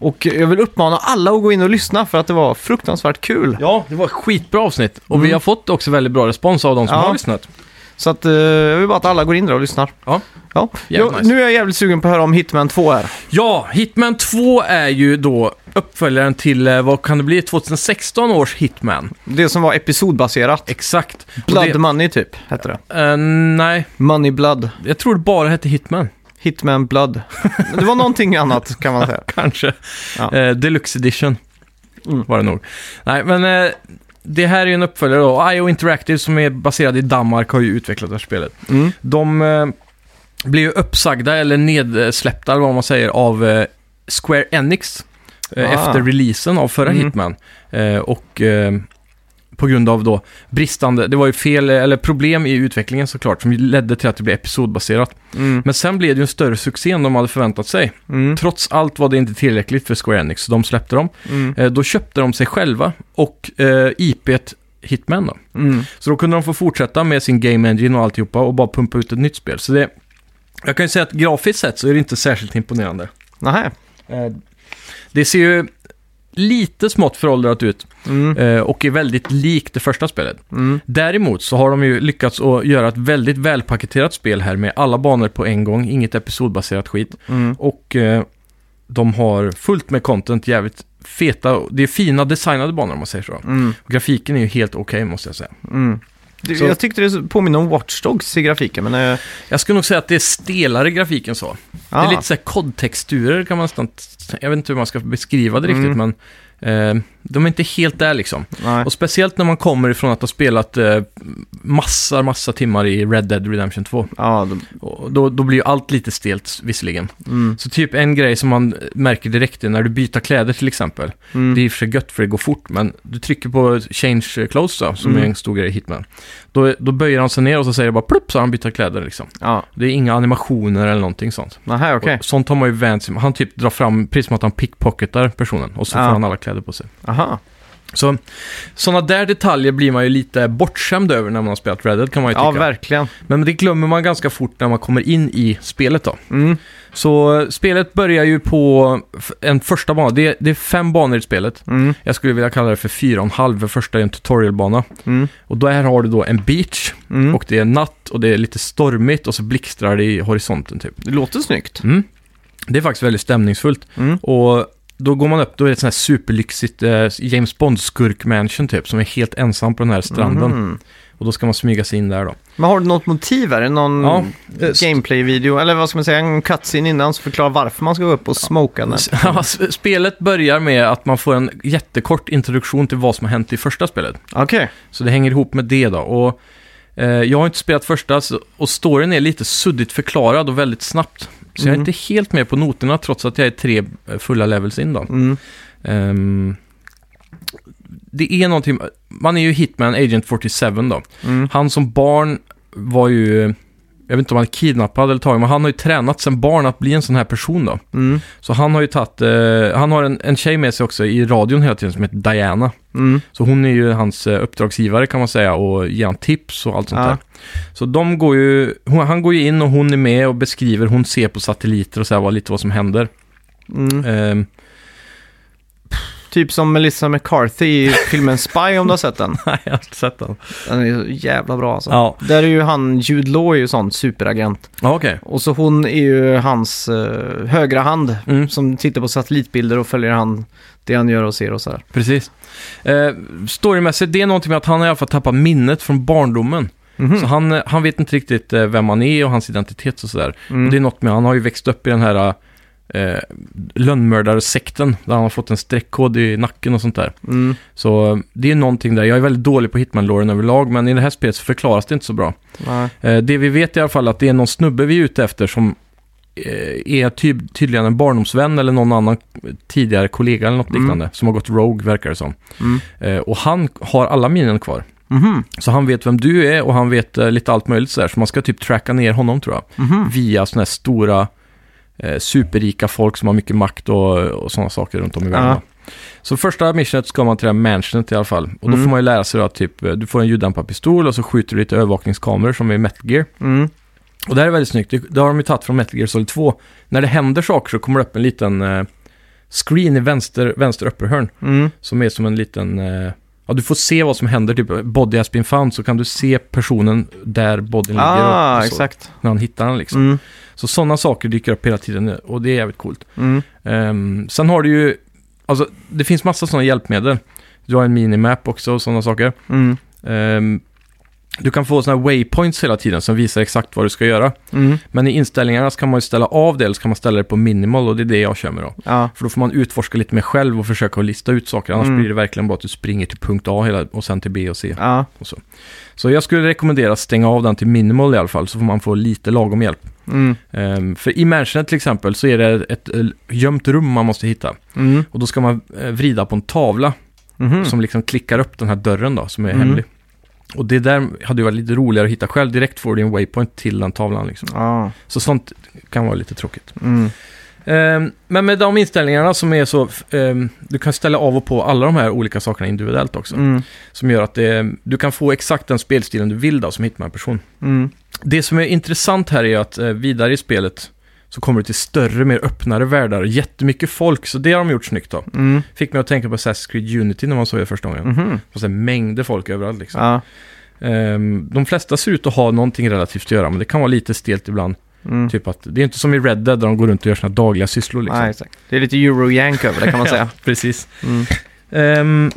S1: Och jag vill uppmana alla att gå in och lyssna för att det var fruktansvärt kul.
S2: Ja, det var ett skitbra avsnitt. Och vi
S1: Mm.
S2: har fått också väldigt bra respons av de som
S1: Ja.
S2: har lyssnat.
S1: Så att, eh, jag vill bara att alla går in där och lyssnar.
S2: Ja.
S1: ja. Jag,
S2: Jävligt nice.
S1: Nu är jag jävligt sugen på att höra om Hitman 2 här.
S2: Ja, Hitman 2 är ju då uppföljaren till, eh, vad kan det bli, 2016 års Hitman.
S1: Det som var episodbaserat.
S2: Exakt. Och
S1: Blood
S2: det,
S1: Money typ, hette det.
S2: eh, nej,
S1: Money Blood.
S2: jag tror det bara hette Hitman. *laughs*
S1: Hitman Blood. Det var någonting annat kan man
S2: *laughs*
S1: säga.
S2: Kanske.
S1: Ja.
S2: Eh, Deluxe Edition
S1: Mm.
S2: var det nog. Nej, men eh, det här är ju en uppföljare då. IO Interactive som är baserad i Danmark har ju utvecklat det här spelet.
S1: Mm.
S2: De eh, blev ju uppsagda eller nedsläppta, eller vad man säger, av eh, Square Enix eh,
S1: Ah.
S2: efter releasen av förra
S1: Mm.
S2: Hitman. Eh, och eh, på grund av då bristande, det var ju fel, eller problem i utvecklingen såklart, som ledde till att det blev episodbaserat.
S1: Mm.
S2: Men sen blev det ju en större succé än de hade förväntat sig.
S1: Mm.
S2: Trots allt var det inte tillräckligt för Square Enix, så de släppte dem.
S1: Mm.
S2: Eh, då köpte de sig själva och eh, IP't Hitman då.
S1: Mm.
S2: Så då kunde de få fortsätta med sin Game Engine och alltihopa och bara pumpa ut ett nytt spel. Så det, jag kan ju säga att grafiskt sett så är det inte särskilt imponerande.
S1: Nähä.
S2: Eh, Det ser ju lite smått föråldrat ut
S1: Mm.
S2: eh, och är väldigt likt det första spelet.
S1: Mm.
S2: Däremot så har de ju lyckats att göra ett väldigt välpaketerat spel här med alla banor på en gång, inget episodbaserat skit.
S1: Mm.
S2: Och eh, de har fullt med content, jävligt feta, det är fina designade banor om man säger så.
S1: Mm.
S2: Grafiken är ju helt okej måste jag säga.
S1: Mm. Det-
S2: Så-
S1: Jag tyckte det påminner om Watch Dogs i grafiken, men... eh,
S2: Jag skulle nog säga att det är stelare grafik än så. Det
S1: ah.
S2: är lite så här kodtexturer kan man nästan... Jag vet inte hur man ska beskriva det riktigt,
S1: Mm.
S2: men eh, de är inte helt där liksom.
S1: Nej.
S2: Och speciellt när man kommer ifrån att ha spelat eh, massor, massa timmar i Red Dead Redemption 2.
S1: Ja, de-
S2: Och då, då blir ju allt lite stelt visserligen.
S1: mm.
S2: Så typ en grej som man märker direkt är när du byter kläder till exempel.
S1: Mm.
S2: Det är i och för sig gött för det går fort, men du trycker på change clothes då, som
S1: Mm.
S2: är en stor grej i Hitman. Då, då böjer han sig ner och så säger det bara plupp så har han bytt kläder liksom.
S1: Ja,
S2: Det är inga animationer eller någonting sånt.
S1: nähä, okej.
S2: Och sånt har man ju vänt sig Han typ drar fram, precis som att han pickpocketar personen och så
S1: Ja.
S2: får han alla kläder på sig.
S1: Aha.
S2: Så sådana där detaljer blir man ju lite bortskämd över när man har spelat Red Dead kan man ju
S1: Ja,
S2: tycka.
S1: verkligen.
S2: Men det glömmer man ganska fort när man kommer in i spelet då.
S1: Mm.
S2: Så eh, spelet börjar ju på f- en första bana. Det är, det är fem banor i spelet.
S1: Mm.
S2: Jag skulle vilja kalla det för fyra och en halv. Den första är en tutorialbana.
S1: Mm.
S2: Och där har du då en beach
S1: Mm.
S2: och det är natt och det är lite stormigt och så blixtrar det i horisonten typ.
S1: Det låter snyggt.
S2: Mm. Det är faktiskt väldigt stämningsfullt.
S1: Mm.
S2: Och då går man upp, då är det ett sånt här superlyxigt eh, James Bond-skurk-mansion typ, som är helt ensam på den här stranden.
S1: Mhm.
S2: Och då ska man smyga sig in där då.
S1: Men har du något motiv? Är det någon
S2: Ja, eh, s-
S1: gameplay-video? Eller vad ska man säga? En cutscene innan som förklarar varför man ska gå upp och smoka den.
S2: *laughs* Ja, s- spelet börjar med att man får en jättekort introduktion till vad som har hänt i första spelet.
S1: Okej.
S2: Så det hänger ihop med det då. Och, eh, jag har inte spelat första, så- och storyn är lite suddigt förklarad och väldigt snabbt. Så jag är inte helt med på noterna trots att jag är tre eh, fulla levels in då.
S1: Mm.
S2: Ehm, det är någonting, man är ju Hitman Agent 47 då.
S1: Mm.
S2: Han som barn var ju, jag vet inte om han är kidnappad eller tagen, men han har ju tränat sen barn att bli en sån här person då.
S1: Mm.
S2: Så han har ju tagit, eh, han har en, en tjej med sig också i radion hela tiden som heter Diana.
S1: Mm.
S2: Så hon är ju hans eh, uppdragsgivare kan man säga och ger han tips och allt sånt
S1: Ja.
S2: där. Så de går ju, hon, han går ju in och hon är med och beskriver, hon ser på satelliter och så här, vad, lite vad som händer.
S1: Mm.
S2: Ehm,
S1: Typ som Melissa McCarthy i filmen Spy om du har sett den.
S2: *laughs* nej, jag har inte sett den.
S1: Den är så jävla bra alltså.
S2: Ja,
S1: Där är ju han, Jude Law är ju sån superagent.
S2: ja okej.
S1: Och så hon är ju hans eh, högra hand
S2: Mm.
S1: som tittar på satellitbilder och följer han det han gör och ser och sådär.
S2: Precis. Eh, storymässigt, det är någonting med att han har i alla fall tappat minnet från barndomen. Så
S1: Mm.
S2: han, eh, han vet inte riktigt eh, vem han är och hans identitet och sådär.
S1: Mm.
S2: Det är något med, han har ju växt upp i den här eh, lönnmördarsekten där han har fått en streckkod i nacken och sånt där.
S1: Mm.
S2: Så eh, det är någonting där, jag är väldigt dålig på Hitman-låren överlag, men i det här spelet så förklaras det inte så bra.
S1: Nej.
S2: Eh, det vi vet i alla fall att det är någon snubbe vi är ute efter som eh, är ty- tydligen en barndomsvän eller någon annan eh, tidigare kollega eller något
S1: Mm.
S2: liknande som har gått rogue verkar det som.
S1: Mm.
S2: Eh, och han har alla minen kvar.
S1: Mhm.
S2: Så han vet vem du är och han vet eh, lite allt möjligt sådär. Så man ska typ tracka ner honom tror jag.
S1: Mhm.
S2: Via sådana här stora eh, superrika folk som har mycket makt och, och sådana saker runt om i världen.
S1: Ja.
S2: då. Så första missionet ska man till det här mansionet i alla fall. Och då
S1: Mm.
S2: får man ju lära sig då att typ, eh, du får en ljuddämparpistol och så skjuter du lite övervakningskameror som i Metal Gear.
S1: Mm.
S2: Och det här är väldigt snyggt. Det, det har de ju tagit från Metal Gear Solid 2. När det händer saker så kommer det upp en liten eh, screen i vänster, vänster upperhörn.
S1: Mm.
S2: Som är som en liten... Eh, ja, du får se vad som händer. Typ body has been found. Så kan du se personen där bodyn ligger.
S1: Ah,
S2: och så,
S1: exakt.
S2: När han hittar den liksom.
S1: Mm.
S2: Så sådana saker dyker upp hela tiden och det är jävligt coolt.
S1: Mm.
S2: Ehm, sen har du ju... Alltså, det finns massa sådana hjälpmedel. Du har en minimap också och sådana saker.
S1: Mm.
S2: Ehm, du kan få sådana här waypoints hela tiden som visar exakt vad du ska göra.
S1: Mm.
S2: Men i inställningarna så kan man ju ställa av det eller så kan man ställa det på minimal och det är det jag kör med då.
S1: Ja.
S2: För då får man utforska lite mer själv och försöka att lista ut saker. Annars
S1: Mm.
S2: blir det verkligen bara att du springer till punkt A hela, och sen till B och C.
S1: Ja.
S2: Så jag skulle rekommendera att stänga av den till minimal i alla fall, så får man få lite lagom hjälp.
S1: Mm.
S2: Ehm, för i mansionet till exempel så är det ett eh, gömt rum man måste hitta.
S1: Mm.
S2: Och då ska man eh, vrida på en tavla
S1: Mhm.
S2: som liksom klickar upp den här dörren då, som är
S1: Mm.
S2: hemlig. Och det där hade ju varit lite roligare att hitta själv. Direkt får du en waypoint till den tavlan liksom.
S1: Ja.
S2: Så sånt kan vara lite tråkigt.
S1: Ah. Mm.
S2: Ehm, Men med de inställningarna som är så, f- ehm, du kan ställa av och på alla de här olika sakerna individuellt också.
S1: Mm.
S2: Som gör att det, du kan få exakt den spelstilen du vill då, som Hitman-person.
S1: Mm.
S2: Det som är intressant här är att eh, vidare i spelet så kommer du till större, mer öppnare världar. Jättemycket folk, så det har de gjort snyggt då.
S1: Mm.
S2: Fick mig att tänka på Assassin's Creed Unity när man såg det första gången.
S1: Mhm.
S2: Och sen mängder folk överallt liksom.
S1: Ja.
S2: Ehm, de flesta ser ut att ha någonting relativt att göra, men det kan vara lite stelt ibland.
S1: Mm.
S2: Typ att, det är inte som i Red Dead där de går runt och gör sina dagliga sysslor liksom.
S1: Nej, exakt. Det är lite euro-yank över det kan man
S2: *laughs*
S1: säga.
S2: Precis.
S1: Mm.
S2: Ehm,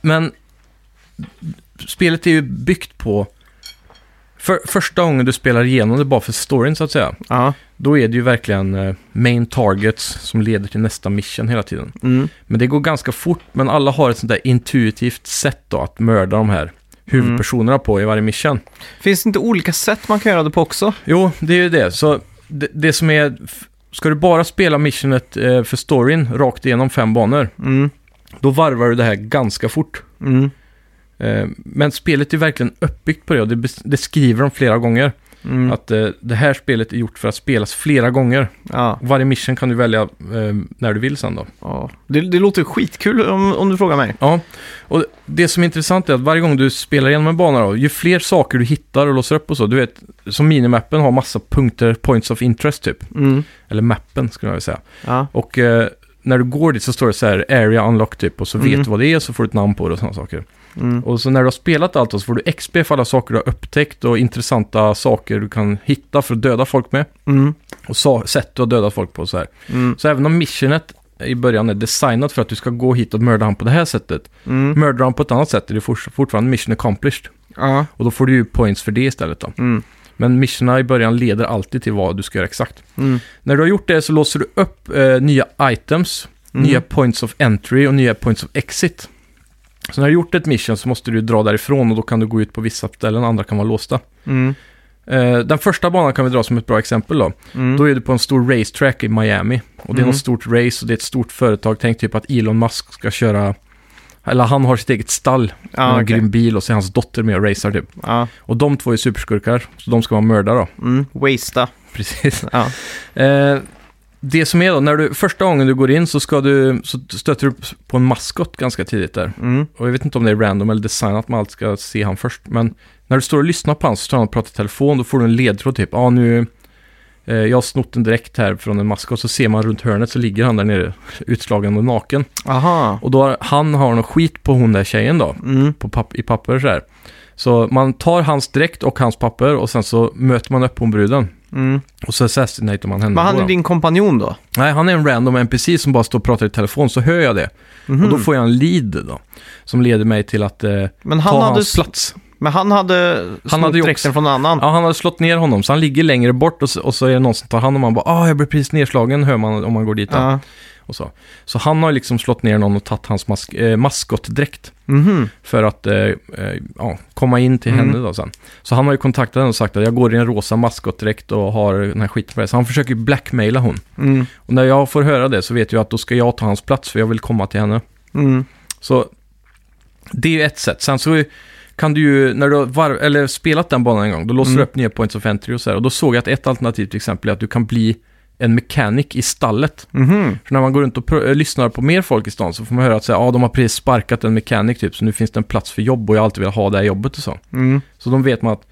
S2: men spelet är ju byggt på... För, första gången du spelar igenom det bara för storyn så att säga.
S1: Ja.
S2: Då är det ju verkligen eh, main targets som leder till nästa mission hela tiden.
S1: Mm.
S2: Men det går ganska fort, men alla har ett sånt där intuitivt sätt då att mörda de här huvudpersonerna på i varje mission.
S1: Finns det inte olika sätt man kan göra det på också?
S2: Jo, det är ju det. Så det, det som är... f- Ska du bara spela missionet eh, för storyn rakt igenom fem banor,
S1: Mm.
S2: då varvar du det här ganska fort.
S1: Mm.
S2: Eh, Men spelet är verkligen uppbyggt på det och det, bes- det skriver de flera gånger.
S1: Mm.
S2: Att eh, det här spelet är gjort för att spelas flera gånger.
S1: Ja.
S2: Varje mission kan du välja eh, när du vill sen då.
S1: ja. Det, det låter skitkul om, om du frågar mig.
S2: Ja, och det som är intressant är att varje gång du spelar igenom en bana då, ju fler saker du hittar och låser upp och så, du vet, som minimappen har massa punkter, points of interest typ.
S1: Mm.
S2: Eller mappen skulle jag vilja säga.
S1: Ja.
S2: Och eh, när du går dit så står det så här, area unlock typ, och så
S1: Mm.
S2: vet du vad det är, så får du ett namn på det och sådana saker.
S1: Mm.
S2: Och så när du har spelat allt då så får du XP för alla saker du har upptäckt och intressanta saker du kan hitta för att döda folk med.
S1: Mm.
S2: Och sa- sätt du har dödat folk på och så här.
S1: Mm.
S2: Så även om missionet i början är designat för att du ska gå hit och mörda han på det här sättet.
S1: Mm.
S2: Mördar han på ett annat sätt är det for- fortfarande mission accomplished.
S1: Ja.
S2: Och då får du ju points för det istället då.
S1: Mm.
S2: Men missionerna i början leder alltid till vad du ska göra exakt.
S1: Mm.
S2: När du har gjort det så låser du upp eh, nya items,
S1: Mm.
S2: nya points of entry och nya points of exit. Så när du har gjort ett mission så måste du dra därifrån och då kan du gå ut på vissa ställen, andra kan vara låsta.
S1: Mm.
S2: Eh, den första banan kan vi dra som ett bra exempel då.
S1: Mm.
S2: Då är du på en stor racetrack i Miami. Och det är
S1: Mm.
S2: något stort race och det är ett stort företag. Tänk typ att Elon Musk ska köra... Eller han har sitt eget stall med
S1: ja,
S2: en
S1: Ah, okej.
S2: grym bil och så är hans dotter med och racear typ.
S1: ja.
S2: Och de två är superskurkar, så de ska man mörda då.
S1: Mm. Wastea.
S2: Precis.
S1: Ja.
S2: Eh, det som är då, när du, första gången du går in så, ska du, så stöter du på en maskot ganska tidigt där.
S1: Mm.
S2: Och jag vet inte om det är random eller designat man alltid ska se han först. Men när du står och lyssnar på han så står han och pratar i telefon. Då får du en ledtråd typ. Ja, ah, nu... Eh, jag har snott en direkt här från en maskot. Så ser man runt hörnet så ligger han där nere utslagen och naken.
S1: Aha.
S2: Och då har, han har någon skit på hon där tjejen då.
S1: Mm.
S2: På papp, I papper så här. Så man tar hans dräkt och hans papper och sen så möter man upp hon bruden.
S1: Mm.
S2: Och så assassinatar man henne.
S1: Men han
S2: då,
S1: är
S2: då.
S1: din kompanjon då?
S2: Nej, han är en random NPC som bara står och pratar i telefon. Så hör jag det.
S1: Mhm.
S2: Och då får jag en lead då. Som leder mig till att eh,
S1: men, han
S2: ta
S1: hade,
S2: hans plats.
S1: men han hade
S2: hade
S1: snott
S2: ju
S1: dräkten
S2: också-
S1: från någon annan?
S2: Ja, han hade slått ner honom, så han ligger längre bort och så, och så är det någon som tar hand om honom. Bara, ah, jag blir precis nedslagen, hör man om man går dit. då.
S1: Ja.
S2: Och så. så han har ju liksom slått ner någon och tagit hans mask eh, maskotdräkt
S1: Mhm.
S2: för att eh, eh, ja, komma in till
S1: Mm.
S2: henne då sen. Så han har ju kontaktat henne och sagt att jag går i en rosa maskotdräkt och har den här skiten på dig. Så han försöker blackmaila hon.
S1: Mm.
S2: Och när jag får höra det så vet jag att då ska jag ta hans plats för jag vill komma till henne.
S1: Mm.
S2: Så det är ju ett sätt. Sen så kan du ju, när du har var- eller spelat den banan en gång, då låser
S1: Mm.
S2: du upp nya points of entry och så här. Och då såg jag att ett alternativ till exempel är att du kan bli en mechanic i stallet.
S1: Mhm.
S2: För när man går runt och pr- äh, lyssnar på mer folk i stan så får man höra att säga, ah, de har precis sparkat en mechanic typ, så nu finns det en plats för jobb och jag har alltid velat ha det här jobbet och så.
S1: Mm.
S2: Så de vet man att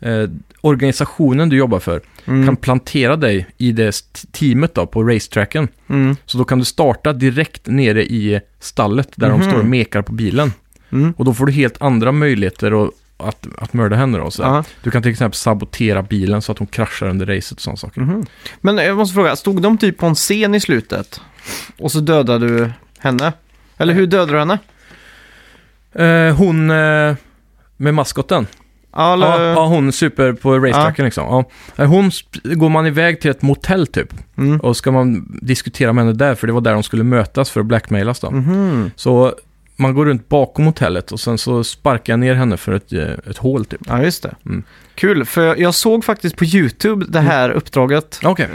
S2: eh, organisationen du jobbar för
S1: Mm.
S2: kan plantera dig i det st- teamet då, på racetracken.
S1: Mm.
S2: Så då kan du starta direkt nere i stallet där
S1: Mhm.
S2: de står och mekar på bilen.
S1: Mm.
S2: Och då får du helt andra möjligheter och, att, att mörda henne då. Så här.
S1: Ja.
S2: Du kan till exempel sabotera bilen så att hon kraschar under racet och sådana saker.
S1: Mhm. Men jag måste fråga, stod de typ på en scen i slutet? Och så dödade du henne? Eller hur dödade du henne?
S2: Eh, hon eh, med maskoten.
S1: Ja, eller...
S2: Ja, ja, hon super på racetracken liksom. Ja. Eh, Hon sp- går man iväg till ett motell typ.
S1: Mm.
S2: Och ska man diskutera med henne där för det var där de skulle mötas för att blackmailas då.
S1: Mhm.
S2: Så man går runt bakom hotellet och sen så sparkar jag ner henne för ett, eh, ett hål typ.
S1: ja just det.
S2: Mm.
S1: Kul, för jag såg faktiskt på YouTube det här uppdraget.
S2: Okej.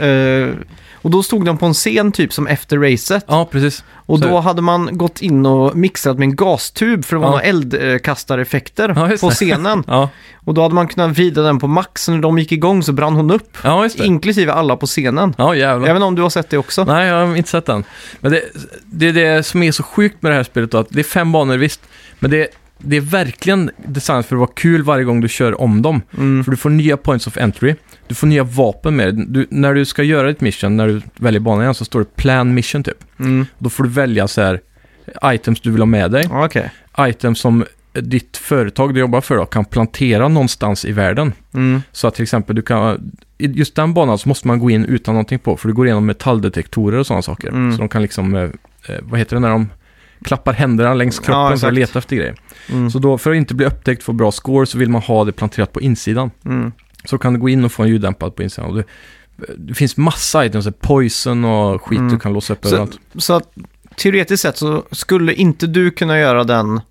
S1: Eh, och då stod de på en scen typ som efter racet.
S2: Ja, precis.
S1: Och
S2: så är
S1: då
S2: det.
S1: hade man gått in och mixat med en gastub för det var
S2: Ja.
S1: några eldkastareffekter
S2: Ja, just
S1: på
S2: det.
S1: scenen.
S2: Ja,
S1: Och då hade man kunnat vrida den på max, så när de gick igång så brann hon upp.
S2: ja just det.
S1: Inklusive alla på scenen.
S2: Typ. Ja, jävlar.
S1: Jag vet inte om du har sett det också?
S2: *laughs* Nej, jag har inte sett den. Men det, det är det som är så sjukt med det här spelet då, att det är fem banor visst, men det, det är verkligen designat för att vara kul varje gång du kör om dem.
S1: Mm.
S2: För du får nya points of entry, du får nya vapen med det. du, När du ska göra ett mission, när du väljer banan igen, så står det plan mission typ.
S1: Mm.
S2: Då får du välja så här items du vill ha med dig,
S1: Ja, Okej.
S2: items som ditt företag du jobbar för då kan plantera någonstans i världen.
S1: Mm.
S2: Så att till exempel du kan, i just den banan så måste man gå in utan någonting på, för du går igenom metalldetektorer och sådana saker.
S1: Mm.
S2: Så de kan liksom, eh, eh, vad heter det när de klappar händerna längs kroppen för
S1: exakt.
S2: att leta efter grejer.
S1: Mm.
S2: Så då, för att inte bli upptäckt och få bra score så vill man ha det planterat på insidan.
S1: Mm.
S2: Så kan du gå in och få en ljuddämpad på insidan. Och det, det finns massa items, så här poison och skit
S1: Mm.
S2: du kan låsa upp
S1: Så,
S2: överallt.
S1: så att, teoretiskt sett så skulle inte du kunna göra den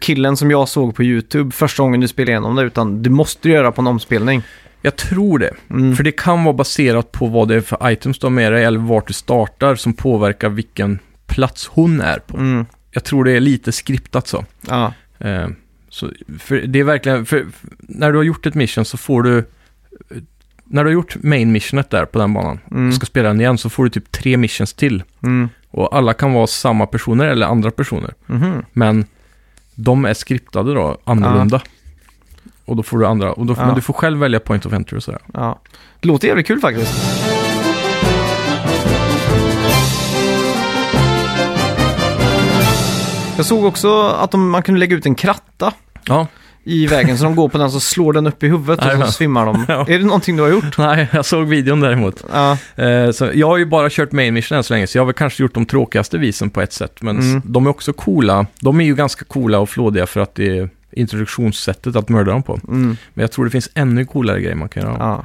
S1: killen som jag såg på YouTube första gången du spelade igenom det, utan du måste göra på en omspelning.
S2: Jag tror det.
S1: Mm.
S2: För det kan vara baserat på vad det är för items du har med dig eller vart du startar som påverkar vilken plats hon är på.
S1: Mm.
S2: Jag tror det är lite skriptat så.
S1: Ja.
S2: Eh, så, för det är verkligen, för, för, när du har gjort ett mission så får du, eh, när du har gjort main missionet där på den banan,
S1: Mm.
S2: och ska spela den igen så får du typ tre missions till.
S1: Mm.
S2: Och alla kan vara samma personer eller andra personer,
S1: Mhm.
S2: men de är skriptade då annorlunda. Och då får du andra, och då,
S1: Ja.
S2: men du får själv välja point of entry och sådär.
S1: Ja. Det låter jävligt kul faktiskt. Jag såg också att de, man kunde lägga ut en kratta
S2: Ja, *laughs*
S1: i vägen så de går på den så slår den upp i huvudet och så
S2: Jajamän.
S1: svimmar de.
S2: *laughs* Ja.
S1: Är det någonting du har gjort?
S2: nej, jag såg videon däremot.
S1: Ja,
S2: Eh, så jag har ju bara kört main mission än så länge, så jag har väl kanske gjort de tråkigaste visen på ett sätt. Men
S1: Mm.
S2: s- de är också coola. De är ju ganska coola och flådiga för att det är introduktionssättet att mörda dem på.
S1: mm,
S2: Men jag tror det finns ännu coolare grejer man kan göra.
S1: ja.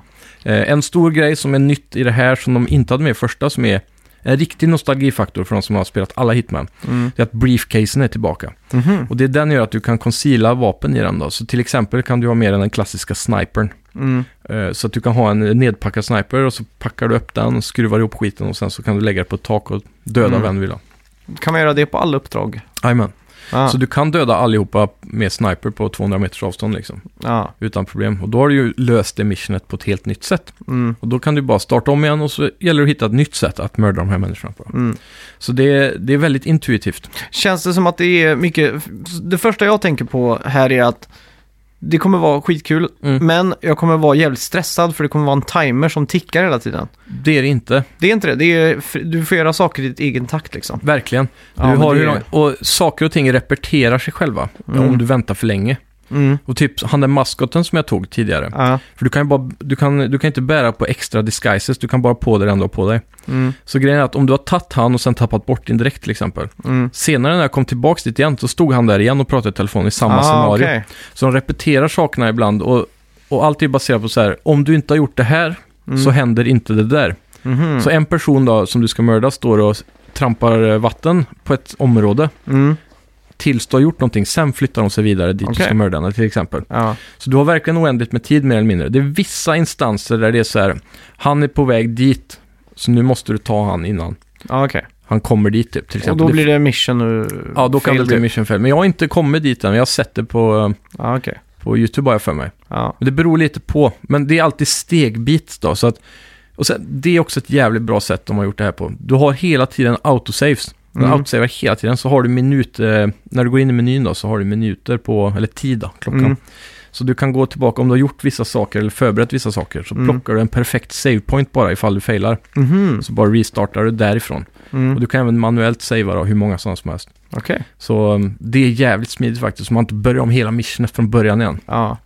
S2: Eh, en stor grej som är nytt i det här, som de inte hade med i första, som är en riktig nostalgifaktor för de som har spelat alla Hitman.
S1: Mm.
S2: Det är att briefcasen är tillbaka.
S1: Mhm.
S2: Och det är den gör att du kan conceala vapen i den då. Så till exempel kan du ha med den, den klassiska snipern.
S1: Mm.
S2: Eh, Så att du kan ha en nedpackad sniper och så packar du upp den och skruvar ihop skiten och sen så kan du lägga det på ett tak och döda
S1: Mm.
S2: vem du vill ha.
S1: Kan man göra det på alla uppdrag?
S2: Jajamän.
S1: Ah,
S2: Så du kan döda allihopa med sniper på 200 meters avstånd liksom.
S1: ah,
S2: Utan problem. Och då har du ju löst det missionet på ett helt nytt sätt.
S1: mm,
S2: Och då kan du bara starta om igen och så gäller det att hitta ett nytt sätt att mörda de här människorna på.
S1: mm.
S2: Så det är, det är väldigt intuitivt.
S1: Känns det som att det är mycket... Det första jag tänker på här är att det kommer vara skitkul,
S2: Mm.
S1: men jag kommer vara jävligt stressad för det kommer vara en timer som tickar hela tiden.
S2: Det är det inte,
S1: Det är inte det, det är, fr- du får göra saker i ditt egen takt liksom.
S2: verkligen. Du
S1: Ja, men
S2: har
S1: det
S2: hur
S1: är-
S2: lång- Och saker och ting repeterar sig själva
S1: Mm.
S2: om du väntar för länge.
S1: Mm.
S2: Och typ han där maskoten som jag tog tidigare.
S1: Ja.
S2: För du kan ju bara, du kan, du kan inte bära på extra disguises, du kan bara ha på dig den du har på dig.
S1: Mm.
S2: Så grejen är att om du har tagit han och sen tappat bort din dräkt till exempel.
S1: Mm.
S2: Senare när jag kom tillbaks dit igen så stod han där igen och pratade i telefon i samma
S1: Ah,
S2: scenario.
S1: okej.
S2: Så de repeterar sakerna ibland och, och allt är baserat på så här, om du inte har gjort det här
S1: Mm.
S2: så händer inte det där.
S1: Mhm.
S2: Så en person då som du ska mörda står och trampar eh, vatten på ett område
S1: Mm.
S2: tills du har gjort någonting. Sen flyttar de sig vidare dit du
S1: Okej.
S2: ska mörda henne till exempel.
S1: Ja.
S2: Så du har verkligen oändligt med tid mer eller mindre. Det är vissa instanser där det är så här, han är på väg dit, så nu måste du ta han innan
S1: Ja, okej.
S2: han kommer dit typ. Till
S1: Och
S2: exempel.
S1: då blir det mission nu? typ.
S2: Ja, då kan det bli mission fail. Men jag har inte kommit dit än, jag har sett det på, eh,
S1: Ja, okej.
S2: på YouTube har jag för mig.
S1: Ja.
S2: Men det beror lite på, men det är alltid stegbit då. Så att, och sen, det är också ett jävligt bra sätt de har gjort det här på. Du har hela tiden autosaves. Den
S1: Mm.
S2: autosavar hela tiden, så har du minuter, eh, när du går in i menyn då, så har du minuter på, eller tid då, klockan.
S1: Mm.
S2: Så du kan gå tillbaka, om du har gjort vissa saker eller förberett vissa saker, så
S1: Mm.
S2: plockar du en perfekt save point bara ifall du failar.
S1: Mhm.
S2: Så bara restartar du därifrån.
S1: Mm.
S2: Och du kan även manuellt savea då, hur många sådana som helst.
S1: Okej.
S2: Så um, det är jävligt smidigt faktiskt, så man inte börjar om hela missionet från början igen.
S1: Ja.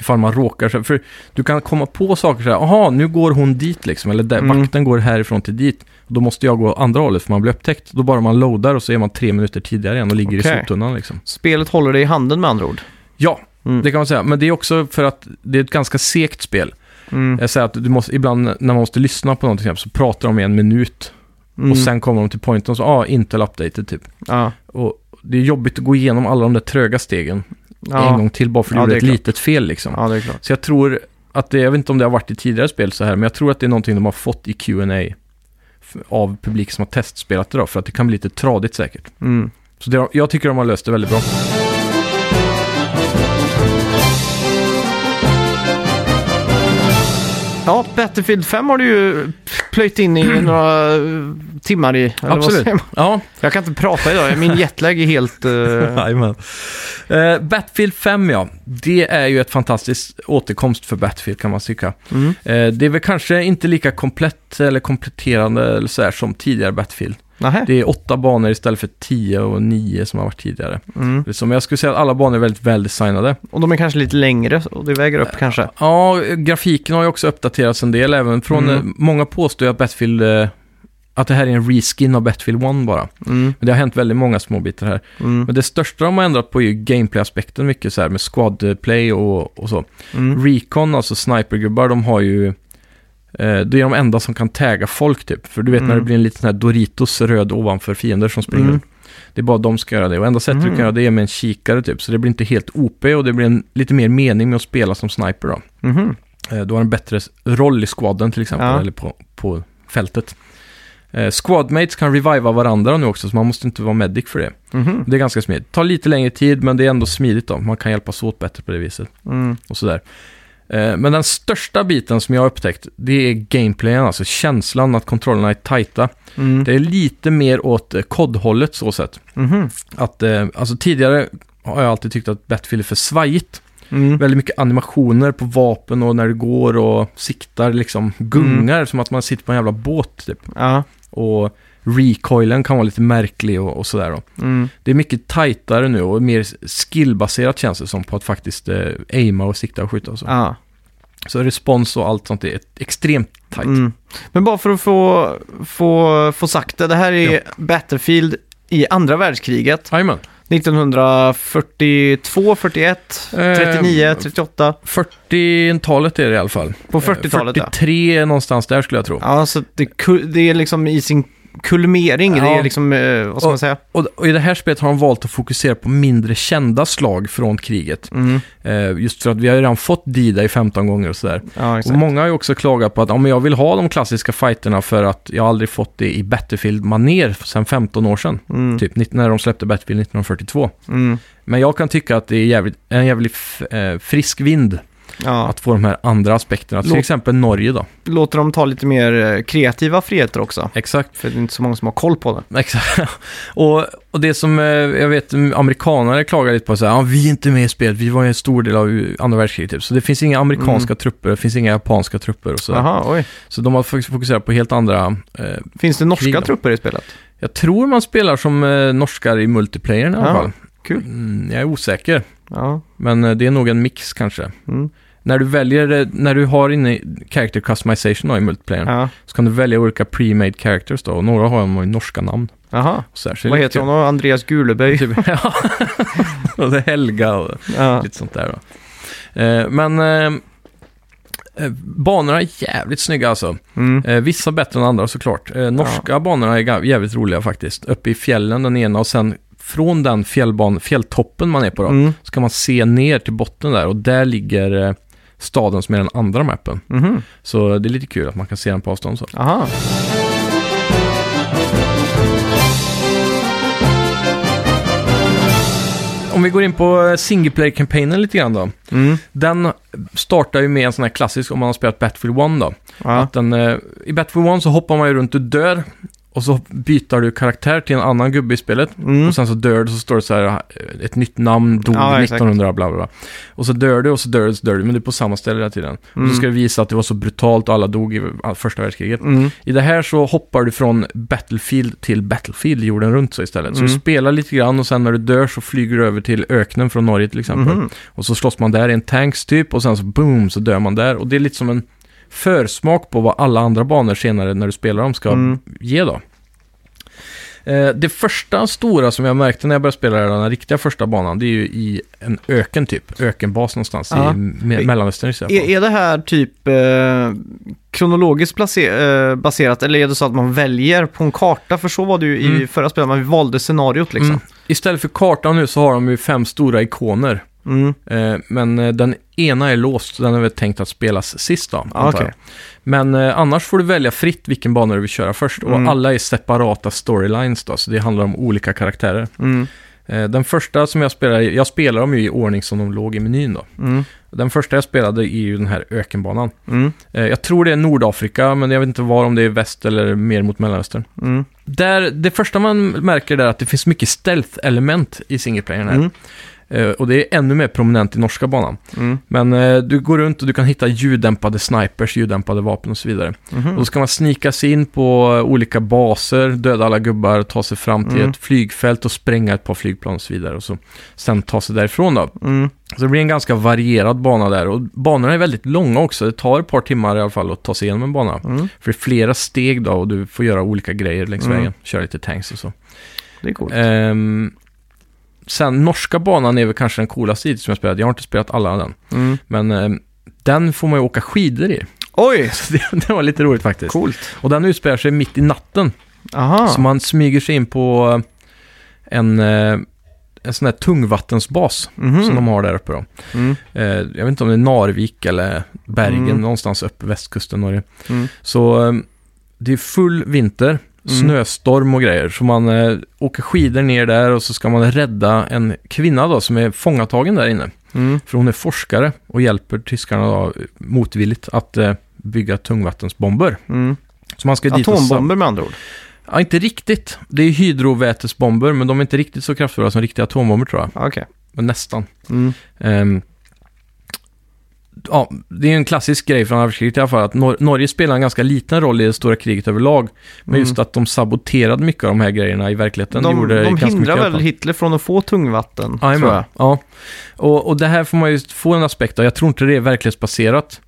S2: Ifall man råkar så För du kan komma på saker så här, aha, nu går hon dit liksom, eller där,
S1: Mm.
S2: vakten går härifrån till dit. Då måste jag gå andra hållet för man blir upptäckt. Då bara man loadar och så är man tre minuter tidigare igen och ligger
S1: Okej.
S2: i soptunnan liksom.
S1: Spelet håller dig i handen med andra ord.
S2: Ja,
S1: Mm.
S2: det kan man säga. Men det är också för att det är ett ganska segt spel.
S1: Mm.
S2: Jag säger att du måste, ibland när man måste lyssna på något till exempel, så pratar de i en minut.
S1: Mm.
S2: Och sen kommer de till pointen och så, ah, Intel updated typ.
S1: Ja.
S2: Och det är jobbigt att gå igenom alla de där tröga stegen
S1: Ja.
S2: en gång till bara för att du
S1: Ja,
S2: gjorde
S1: det är
S2: ett
S1: klart.
S2: litet fel liksom.
S1: ja, det är klart.
S2: Så jag tror att det, jag vet inte om det har varit i tidigare spel så här, men jag tror att det är någonting de har fått i Q&A f- av publik som har testspelat det då, för att det kan bli lite tradigt säkert.
S1: Mm.
S2: Så det, har- jag tycker de har löst det väldigt bra.
S1: Ja, Battlefield 5 har du ju plöjt in
S2: *clears throat*
S1: i några eh, timmar i. eller vad
S2: Absolut.
S1: säger man?
S2: Ja,
S1: Jag kan inte prata idag, *laughs* min jetlag är helt... eh,
S2: *laughs* jajamän. Eh, Battlefield 5 ja, det är ju ett fantastiskt återkomst för Battlefield kan man tycka.
S1: *laughs* mm.
S2: Eh, det är väl kanske inte lika komplett eller kompletterande eller så här, som tidigare Battlefield.
S1: Nähä.
S2: Det är åtta banor istället för tio och nio som har varit tidigare.
S1: Mm.
S2: Som jag skulle säga att alla banor är väldigt väldesignade.
S1: Och de är kanske lite längre och det väger upp kanske.
S2: Ja, grafiken har ju också uppdaterats en del även från...
S1: Mm.
S2: eh, Många påstår ju att Battlefield... eh, Att det här är en reskin av Battlefield 1 bara.
S1: Mm.
S2: Men det har hänt väldigt många små bitar här.
S1: Mm.
S2: Men det största de har ändrat på är ju gameplay-aspekten mycket så här med squadplay och, och så.
S1: Mm.
S2: Recon, alltså snipergubbar, de har ju... eh, Det är de enda som kan tagga folk typ. För du vet när
S1: Mm.
S2: det blir en liten sån här Doritos röd ovanför fiender som springer.
S1: Mm.
S2: Det är bara de som ska göra det. Och enda sättet du
S1: Mm.
S2: kan göra det är med en kikare typ. Så det blir inte helt OP och det blir en, lite mer mening med att spela som sniper då.
S1: Mhm.
S2: Eh, Du har en bättre s- roll i squaden till exempel,
S1: Ja.
S2: eller på, på fältet. Eh, Squadmates kan reviva varandra nu också, så man måste inte vara medic för det.
S1: Mhm.
S2: Det är ganska smidigt. Tar lite längre tid, men det är ändå smidigt då. Man kan hjälpas åt bättre på det viset
S1: Mm.
S2: och sådär. Eh, Men den största biten som jag har upptäckt, det är gameplayen, alltså känslan att kontrollerna är tajta.
S1: Mm.
S2: Det är lite mer åt eh, kodhållet så sett.
S1: Mhm.
S2: Att, eh, alltså tidigare har jag alltid tyckt att Battlefield är för svajigt.
S1: Mm.
S2: Väldigt mycket animationer på vapen och när du går och siktar liksom gungar som att man sitter på en jävla båt typ.
S1: Ja.
S2: Och recoilen kan vara lite märklig och, och sådär då.
S1: Mm.
S2: Det är mycket tajtare nu och mer skillbaserat känns det som på att faktiskt eh, aima och sikta och skjuta och så.
S1: Ja.
S2: Så respons och allt sånt är extremt tajt.
S1: Mm. Men bara för att få, få, få sagt det, det här är Battlefield i andra världskriget.
S2: Jajamän.
S1: 1942, 41, 39,
S2: Eh,
S1: 38.
S2: 40-talet är det i alla fall.
S1: På 40-talet Eh, ja.
S2: 43 någonstans där skulle jag tro.
S1: Ja, så det, ku- det är liksom i sin kulmering. Det
S2: Ja.
S1: är liksom, eh, vad ska man säga?
S2: Och, och i det här spelet har de valt att fokusera på mindre kända slag från kriget.
S1: Mm.
S2: Eh, just för att vi har ju redan fått Dida i 15 gånger och sådär.
S1: Ja,
S2: Och
S1: exakt.
S2: många har ju också klagat på att om jag vill ha de klassiska fighterna för att jag aldrig fått det i Battlefield-maner sedan 15 år sedan.
S1: Mm.
S2: Typ nitt- när de släppte Battlefield 1942.
S1: Mm.
S2: Men jag kan tycka att det är jävligt, en jävligt f- eh, frisk vind
S1: Ja.
S2: att få de här andra aspekterna. Till
S1: Låt-
S2: exempel Norge då.
S1: Låter dem ta lite mer eh, kreativa friheter också.
S2: Exakt.
S1: För det är inte så många som har koll på det.
S2: Exakt. *laughs* Och, och det som eh, jag vet mm, amerikanare klagar lite på, så här, ah, vi är inte med i spelet, vi var ju en stor del av uh, andra världskriget. Typ. Så det finns inga amerikanska trupper, det finns inga japanska trupper och så. där.
S1: Mm. Jaha, oj.
S2: Så de har faktiskt fokuserat på helt andra... Eh,
S1: Finns det norska
S2: Krig då.
S1: trupper i spelet?
S2: jag tror man spelar som eh, norskar i multiplayern i alla
S1: Ja,
S2: fall.
S1: kul.
S2: Mm, jag är osäker,
S1: Ja.
S2: men eh, det är nog en mix kanske.
S1: Mm.
S2: När du väljer, eh, när du har inne i character customization då, i multiplayern,
S1: ja.
S2: så kan du välja olika pre-made characters då, och några har ju norska namn.
S1: Jaha.
S2: Och så här, så det är
S1: Vad
S2: lite
S1: heter
S2: kul.
S1: hon då? Andreas Guleböj?
S2: Typ, *laughs* ja. och det är Helga och
S1: Ja.
S2: lite sånt där då. Eh, men eh, eh, banorna är jävligt snygga alltså.
S1: Mm.
S2: Eh, vissa bättre än andra såklart. Eh, norska banorna är ga- jävligt roliga faktiskt. Uppe i fjällen den ena och sen från den fjällban, fjälltoppen man är på då,
S1: Mm.
S2: så kan man se ner till botten där och där ligger eh, staden som är den andra mappen.
S1: Mhm.
S2: Så det är lite kul att man kan se den på avstånd så.
S1: Aha.
S2: Om vi går in på singleplayer-kampanjen lite grann då.
S1: Mm.
S2: Den startar ju med en sån här klassisk, om man har spelat Battlefield 1 då.
S1: Ja.
S2: Att den, eh, I Battlefield 1 så hoppar man ju runt, du dör och så byter du karaktär till en annan gubbe i spelet.
S1: Mm.
S2: Och sen så dör du så står det så här, eh, ett nytt namn, dog
S1: Ja, exakt.
S2: 1900, bla bla bla. Och så dör du och så dör du, så dör du, men du är på samma ställe hela tiden. Och så ska du visa att det var så brutalt och alla dog i all- första världskriget.
S1: Mm.
S2: I det här så hoppar du från Battlefield till Battlefield jorden runt så istället. Så du
S1: Mm.
S2: spelar lite grann och sen när du dör så flyger du över till öknen från Norge till exempel.
S1: Mhm.
S2: Och så slåss man där i en tanks typ och sen så boom så dör man där. Och det är lite som en försmak på vad alla andra banor senare när du spelar dem ska
S1: Mm.
S2: ge då. Eh, Det första stora som jag märkte när jag började spela den här riktiga första banan, det är ju i en öken typ. Ökenbas någonstans
S1: Ja. E-
S2: i me- Mellanöstern i så
S1: Är,
S2: fall.
S1: är det här typ eh, kronologiskt place- eh, baserat eller är det så att man väljer på en karta? För så var det ju i
S2: Mm.
S1: förra spelet, man valde scenariot liksom.
S2: Mm. Istället för kartan nu så har de ju fem stora ikoner.
S1: Mm.
S2: Eh, Men eh, den ena är låst, så den är väl tänkt att spelas sist då.
S1: Ja,
S2: antar jag.
S1: Ah, okej.
S2: Men eh, annars får du välja fritt vilken bana du vill köra först. Och
S1: Mm.
S2: alla är separata storylines då, så det handlar om olika karaktärer.
S1: Mm.
S2: Eh, den första som jag spelar, i- jag spelar dem ju i ordning som de låg i menyn då.
S1: Mm.
S2: Den första jag spelade är ju den här ökenbanan.
S1: Mm.
S2: Eh, jag tror det är Nordafrika, men jag vet inte var, om det är väst eller mer mot Mellanöstern.
S1: Mm.
S2: Där, det första man märker där är att det finns mycket stealth-element i singleplayern här.
S1: Mm.
S2: Eh, och det är ännu mer prominent i norska banan.
S1: Mm.
S2: Men eh, du går runt och du kan hitta ljuddämpade snipers, ljuddämpade vapen och så vidare. Och
S1: Mhm.
S2: då ska man snika sig in på eh, olika baser, döda alla gubbar, ta sig fram till
S1: Mm.
S2: ett flygfält och spränga ett par flygplan och så vidare. Och så sen ta sig därifrån då.
S1: Mm.
S2: Så det blir en ganska varierad bana där. Och banorna är väldigt långa också. Det tar ett par timmar i alla fall att ta sig igenom en bana.
S1: Mm.
S2: För det är flera steg då och du får göra olika grejer längs
S1: Mm.
S2: vägen. Köra lite tanks och så.
S1: Det är coolt.
S2: Ehm, sen norska banan är väl kanske den coolaste hittills som jag spelat. Jag har inte spelat alla den.
S1: Mm.
S2: Men ehm, den får man ju åka skidor i. *laughs*
S1: Oj,
S2: Så det, det var lite roligt faktiskt.
S1: coolt.
S2: Och den utspelar sig mitt i natten.
S1: Aha.
S2: Så man smyger sig in på en, eh, en sån här tungvattensbas
S1: Mhm.
S2: som de har där uppe då.
S1: Mm.
S2: Eh, jag vet inte om det är Narvik eller Bergen,
S1: Mm.
S2: någonstans uppe västkusten Norge.
S1: Mm.
S2: Så eh, det är full vinter, snöstorm och grejer. Så man eh, åker skidor ner där och så ska man rädda en kvinna då som är fångatagen där inne.
S1: Mm.
S2: För hon är forskare och hjälper tyskarna då, eh, motvilligt att eh, bygga tungvattensbomber.
S1: Mm.
S2: Så man ska dit och sam-
S1: Atombomber med andra ord.
S2: Ja, inte riktigt. Det är hydrovätesbomber, men de är inte riktigt så kraftfulla som riktiga atombomber tror jag.
S1: Ja, Okej.
S2: Men nästan.
S1: Mm.
S2: Ehm, ja, det är ju en klassisk grej från andra världskriget i alla fall, att Nor- Norge spelar en ganska liten roll i det stora kriget överlag. Men
S1: Mm.
S2: just att de saboterade mycket av de här grejerna i verkligheten.
S1: De,
S2: gjorde
S1: de
S2: ganska mycket
S1: hindrar väl
S2: åt dem.
S1: Hitler från att få tungvatten,
S2: Jajamän,
S1: tror jag.
S2: Ja, och, och det här får man ju få en aspekt av. Jag tror inte det är verklighetsbaserat.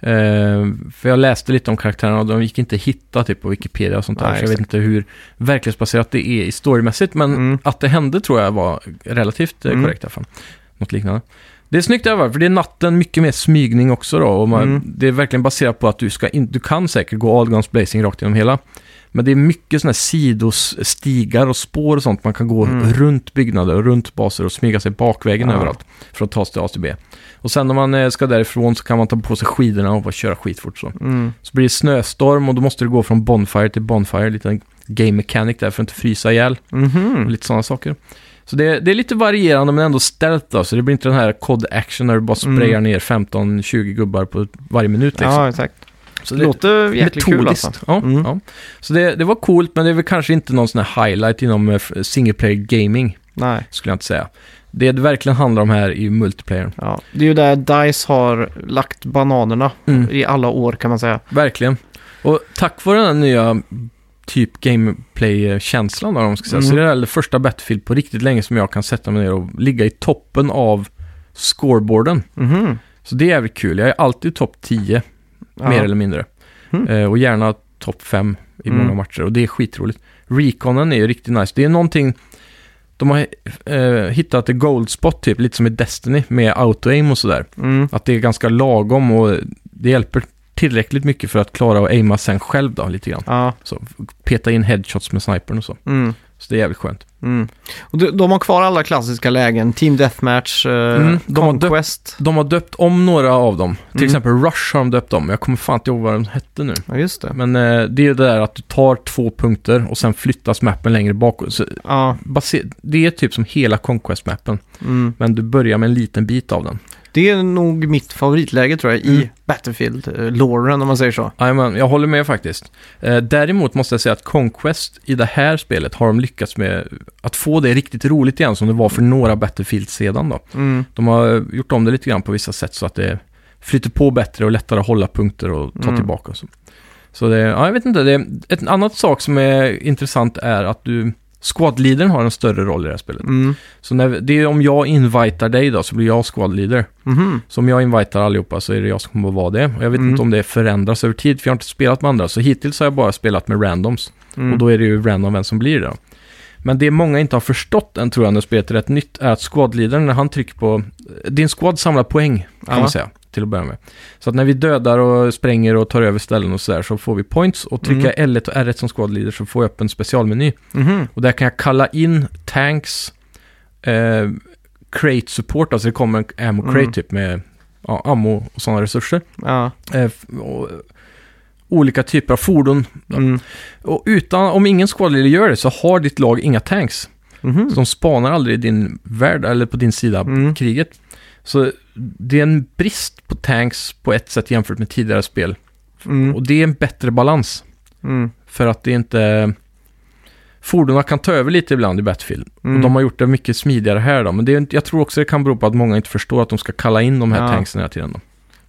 S2: Ehm, för jag läste lite om karaktärerna och de gick inte att hitta typ, på Wikipedia och sånt där.
S1: Nej,
S2: så jag vet
S1: exakt.
S2: inte hur verklighetsbaserat det är i storymässigt. Men
S1: Mm.
S2: att det hände tror jag var relativt eh,
S1: Mm.
S2: korrekt i alla fall. Något liknande. Det är snyggt över, för det är natten, mycket mer smygning också då. Och man,
S1: Mm.
S2: Det är verkligen baserat på att du, ska in, du kan säkert gå all guns blazing rakt genom hela. Men det är mycket sådana här sidostigar och spår och sånt. Man kan gå
S1: Mm.
S2: runt byggnader och runt baser och smyga sig bakvägen
S1: Ja.
S2: överallt för att ta sig till A till B. Och sen när man eh, ska därifrån så kan man ta på sig skidorna och bara köra skitfort så.
S1: Mm.
S2: Så blir det snöstorm och då måste du gå från Bonfire till Bonfire. Lite game mechanic där för att inte frysa ihjäl och
S1: Mhm.
S2: lite sådana saker. Så det, det är lite varierande men ändå stealth då, så det blir inte den här COD action när du bara sprayar ner 15-20 gubbar på varje minut liksom.
S1: Mm. Ja, exakt.
S2: så
S1: Det låter jäkligt kul alltså.
S2: Ja,
S1: Mm.
S2: ja. Så det, det var coolt men det är väl kanske inte någon sån här highlight inom eh, f- single player gaming
S1: Nej.
S2: skulle jag inte säga. Det det verkligen handlar om här är ju multiplayer.
S1: Ja, det är ju där DICE har lagt bananerna
S2: Mm.
S1: i alla år kan man säga.
S2: Verkligen. Och tack vare den här nya typ gameplay-känslan då, om man ska säga.
S1: Mm.
S2: Så det är det första Battlefield på riktigt länge som jag kan sätta mig ner och ligga i toppen av scoreboarden.
S1: Mhm.
S2: Så det är jävligt kul. Jag är alltid topp 10,
S1: Ja.
S2: mer eller mindre.
S1: Mm.
S2: Eh, och gärna topp 5 i
S1: Mm.
S2: många matcher. Och det är skitroligt. Reconen är ju riktigt nice. Det är någonting... De har eh, hittat ett gold spot typ, lite som i Destiny med auto-aim och sådär.
S1: Mm.
S2: Att det är ganska lagom och det hjälper tillräckligt mycket för att klara att aima sen själv då, lite grann.
S1: Ja.
S2: Så peta in headshots med snipern och så.
S1: Mm.
S2: Så det är jävligt skönt.
S1: Mm. Och de, de har kvar alla klassiska lägen. Team Deathmatch, eh,
S2: Mm, de har dö-
S1: Conquest.
S2: De har döpt om några av dem. Till
S1: Mm.
S2: exempel Rush har de döpt om. Jag kommer fan inte ihåg vad den hette nu.
S1: Ja, just det.
S2: Men eh, det är ju det där att du tar två punkter och sen flyttas mappen längre bakåt. Så
S1: Ja.
S2: base- det är typ som hela Conquest-mappen,
S1: Mm.
S2: men du börjar med en liten bit av den.
S1: Det är nog mitt favoritläge tror jag i
S2: Mm.
S1: Battlefield-loren om man säger så.
S2: Jajamän, jag håller med faktiskt. Eh, däremot måste jag säga att Conquest i det här spelet har de lyckats med att få det riktigt roligt igen som det var för några Battlefield sedan då.
S1: Mm.
S2: De har eh, gjort om det lite grann på vissa sätt så att det flyter på bättre och lättare att hålla punkter och ta
S1: Mm.
S2: tillbaka. Och så så det, ja, jag vet inte, det, ett annat sak som är intressant är att du, squadleadern har en större roll i det här spelet.
S1: Mm.
S2: Så när, det är om jag invitar dig då så blir jag squadleader.
S1: Mhm.
S2: Så om jag invitar allihopa så är det jag som kommer att vara det. Och jag vet
S1: Mm.
S2: inte om det förändras över tid för jag har inte spelat med andra. Så hittills har jag bara spelat med randoms.
S1: Mm.
S2: Och då är det ju random vem som blir det då. Men det många inte har förstått än tror jag när spelet är rätt nytt är att squadleadern när han trycker på... Din squad samlar poäng kan
S1: Mm. Ja.
S2: man säga till att börja med. Så att när vi dödar och spränger och tar över ställen och sådär så får vi points. Och trycker
S1: Mm.
S2: jag L1 och R1 som squadleader så får jag upp en specialmeny.
S1: Mhm.
S2: Och där kan jag kalla in tanks, eh, crate support, alltså det kommer en ammo crate
S1: Mm.
S2: typ med ja, ammo och sådana resurser.
S1: Ja.
S2: Eh, f- och, eh, olika typer av fordon.
S1: Mm.
S2: Och utan, om ingen squadleader gör det så har ditt lag inga tanks.
S1: Mhm.
S2: Så de spanar aldrig i din värld eller på din sida av
S1: Mm.
S2: kriget. Så det är en brist på tanks på ett sätt jämfört med tidigare spel.
S1: Mm.
S2: Och det är en bättre balans.
S1: Mm.
S2: För att det är inte... Fordonen kan ta över lite ibland i Battlefield.
S1: Mm.
S2: Och de har gjort det mycket smidigare här då. Men det är, inte- jag tror också det kan bero på att många inte förstår att de ska kalla in de här
S1: Ja.
S2: tanksen hela tiden. Då.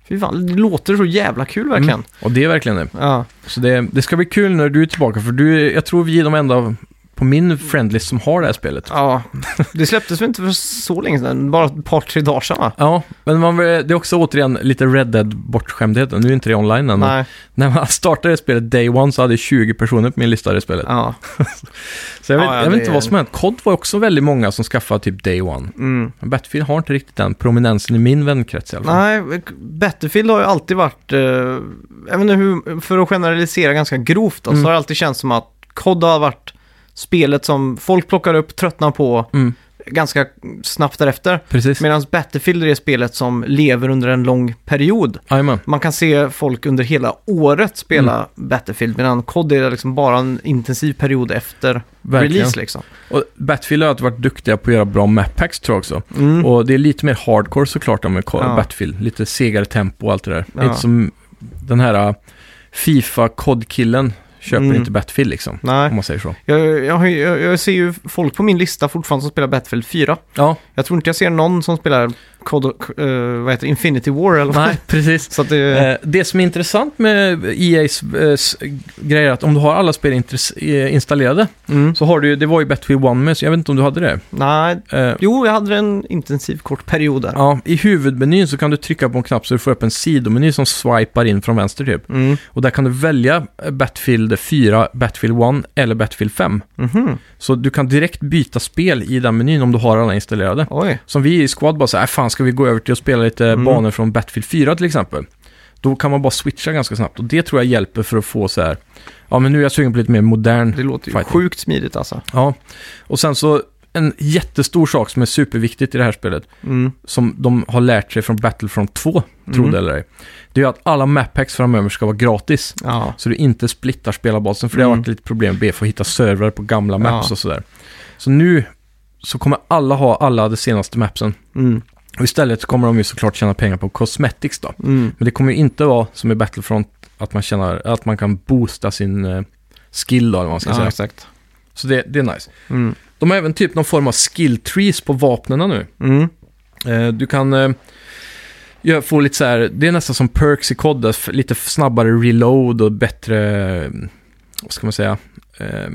S1: Fy fan, det låter så jävla
S2: Mm.
S1: kul verkligen.
S2: Och det är verkligen det.
S1: Ja.
S2: Så det, det ska bli kul när du är tillbaka. För du, jag tror vi är de enda på min friendlist som har det här spelet. *laughs*
S1: Ja, det släpptes väl inte för så länge sedan, bara ett par, tre dagar sedan va?
S2: Ja, men man, vill- det är också återigen lite Red Dead bortskämdhet. Nu är inte det online än. men
S1: Nej,
S2: När man startade det spelet day one så hade jag 20 personer på min lista i det spelet.
S1: ja.
S2: Så jag vet,
S1: Ja, ja,
S2: jag
S1: det
S2: vet inte
S1: är-
S2: vad som hänt. COD var också väldigt många som skaffade typ day one.
S1: Mm.
S2: Men Battlefield har inte riktigt den prominensen i min vänkrets i alla fall.
S1: Nej, Battlefield har ju alltid varit, eh, jag vet inte hur, för att generalisera ganska grovt, då,
S2: Mm.
S1: så har det alltid känts som att COD har varit spelet som folk plockar upp, tröttnar på
S2: Mm,
S1: ganska snabbt därefter.
S2: precis.
S1: Medan Battlefield är det spelet som lever under en lång period.
S2: Jajamän.
S1: Man kan se folk under hela året spela
S2: Mm.
S1: Battlefield, medan COD är liksom bara en intensiv period efter
S2: Verkligen.
S1: release liksom.
S2: Och Battlefield har alltid varit duktiga på att göra bra mappacks tror jag också.
S1: Mm.
S2: Och det är lite mer hardcore såklart om
S1: Ja.
S2: Battlefield. Lite segare tempo och allt det där. Det är
S1: Ja.
S2: Inte som den här äh, Fifa-kodkillen köper
S1: Mm.
S2: inte Battlefield liksom.
S1: Nej.
S2: Om man säger så.
S1: Jag, jag, jag, jag ser ju folk på min lista fortfarande som spelar Battlefield 4.
S2: Ja,
S1: Jag tror inte jag ser någon som spelar Cod, eh, vad heter det, Infinity War eller vad. *laughs*
S2: nej, precis.
S1: Så att det,
S2: Eh, Det som är intressant med EA's eh, s- grejer är att om du har alla spel intress- eh, installerade
S1: mm,
S2: så har du ju- det var ju Battlefield 1 med, så jag vet inte om du hade det.
S1: nej.
S2: Eh,
S1: Jo, jag hade en intensiv kort period där.
S2: Ja, i huvudmenyn så kan du trycka på en knapp så du får upp en sidomeny som swipar in från vänster typ.
S1: Mm.
S2: Och där kan du välja eh, Battlefield 4, Battlefield 1 eller Battlefield 5.
S1: Mhm.
S2: Så du kan direkt byta spel i den menyn om du har alla installerade.
S1: Oj.
S2: "Äh, Som vi i Squad bara så här, fan ska vi gå över till att spela lite
S1: Mm.
S2: banor från Battlefield 4 till exempel? Då kan man bara switcha ganska snabbt och det tror jag hjälper för att få så här, ja men nu är jag sugen på lite mer modern
S1: Det låter ju
S2: Fighting.
S1: sjukt smidigt alltså.
S2: Ja, och sen så en jättestor sak som är superviktigt i det här spelet,
S1: Mm.
S2: som de har lärt sig från Battlefront 2, tro
S1: Mm.
S2: det eller ej, det är ju att alla mappacks framöver ska vara gratis.
S1: Ja.
S2: Så du inte splittar spelarbasen, för det har
S1: Mm.
S2: varit lite problem med BF att hitta servrar på gamla maps
S1: Ja.
S2: och sådär. Så nu så kommer alla ha alla de senaste mapsen.
S1: Mm.
S2: Och istället så kommer de ju såklart tjäna pengar på cosmetics då.
S1: Mm.
S2: Men det kommer ju inte vara som i Battlefront, att man, tjänar, att man kan boosta sin eh, skill då, eller vad man ska
S1: ja,
S2: säga.
S1: exakt.
S2: Så det, det är nice.
S1: Mm.
S2: De har även typ någon form av skill trees på vapnena nu.
S1: Mm.
S2: Eh, du kan eh, gö- få lite så här, det är nästan som perks i COD, där f- lite f- snabbare reload och bättre, eh, vad ska man säga, eh,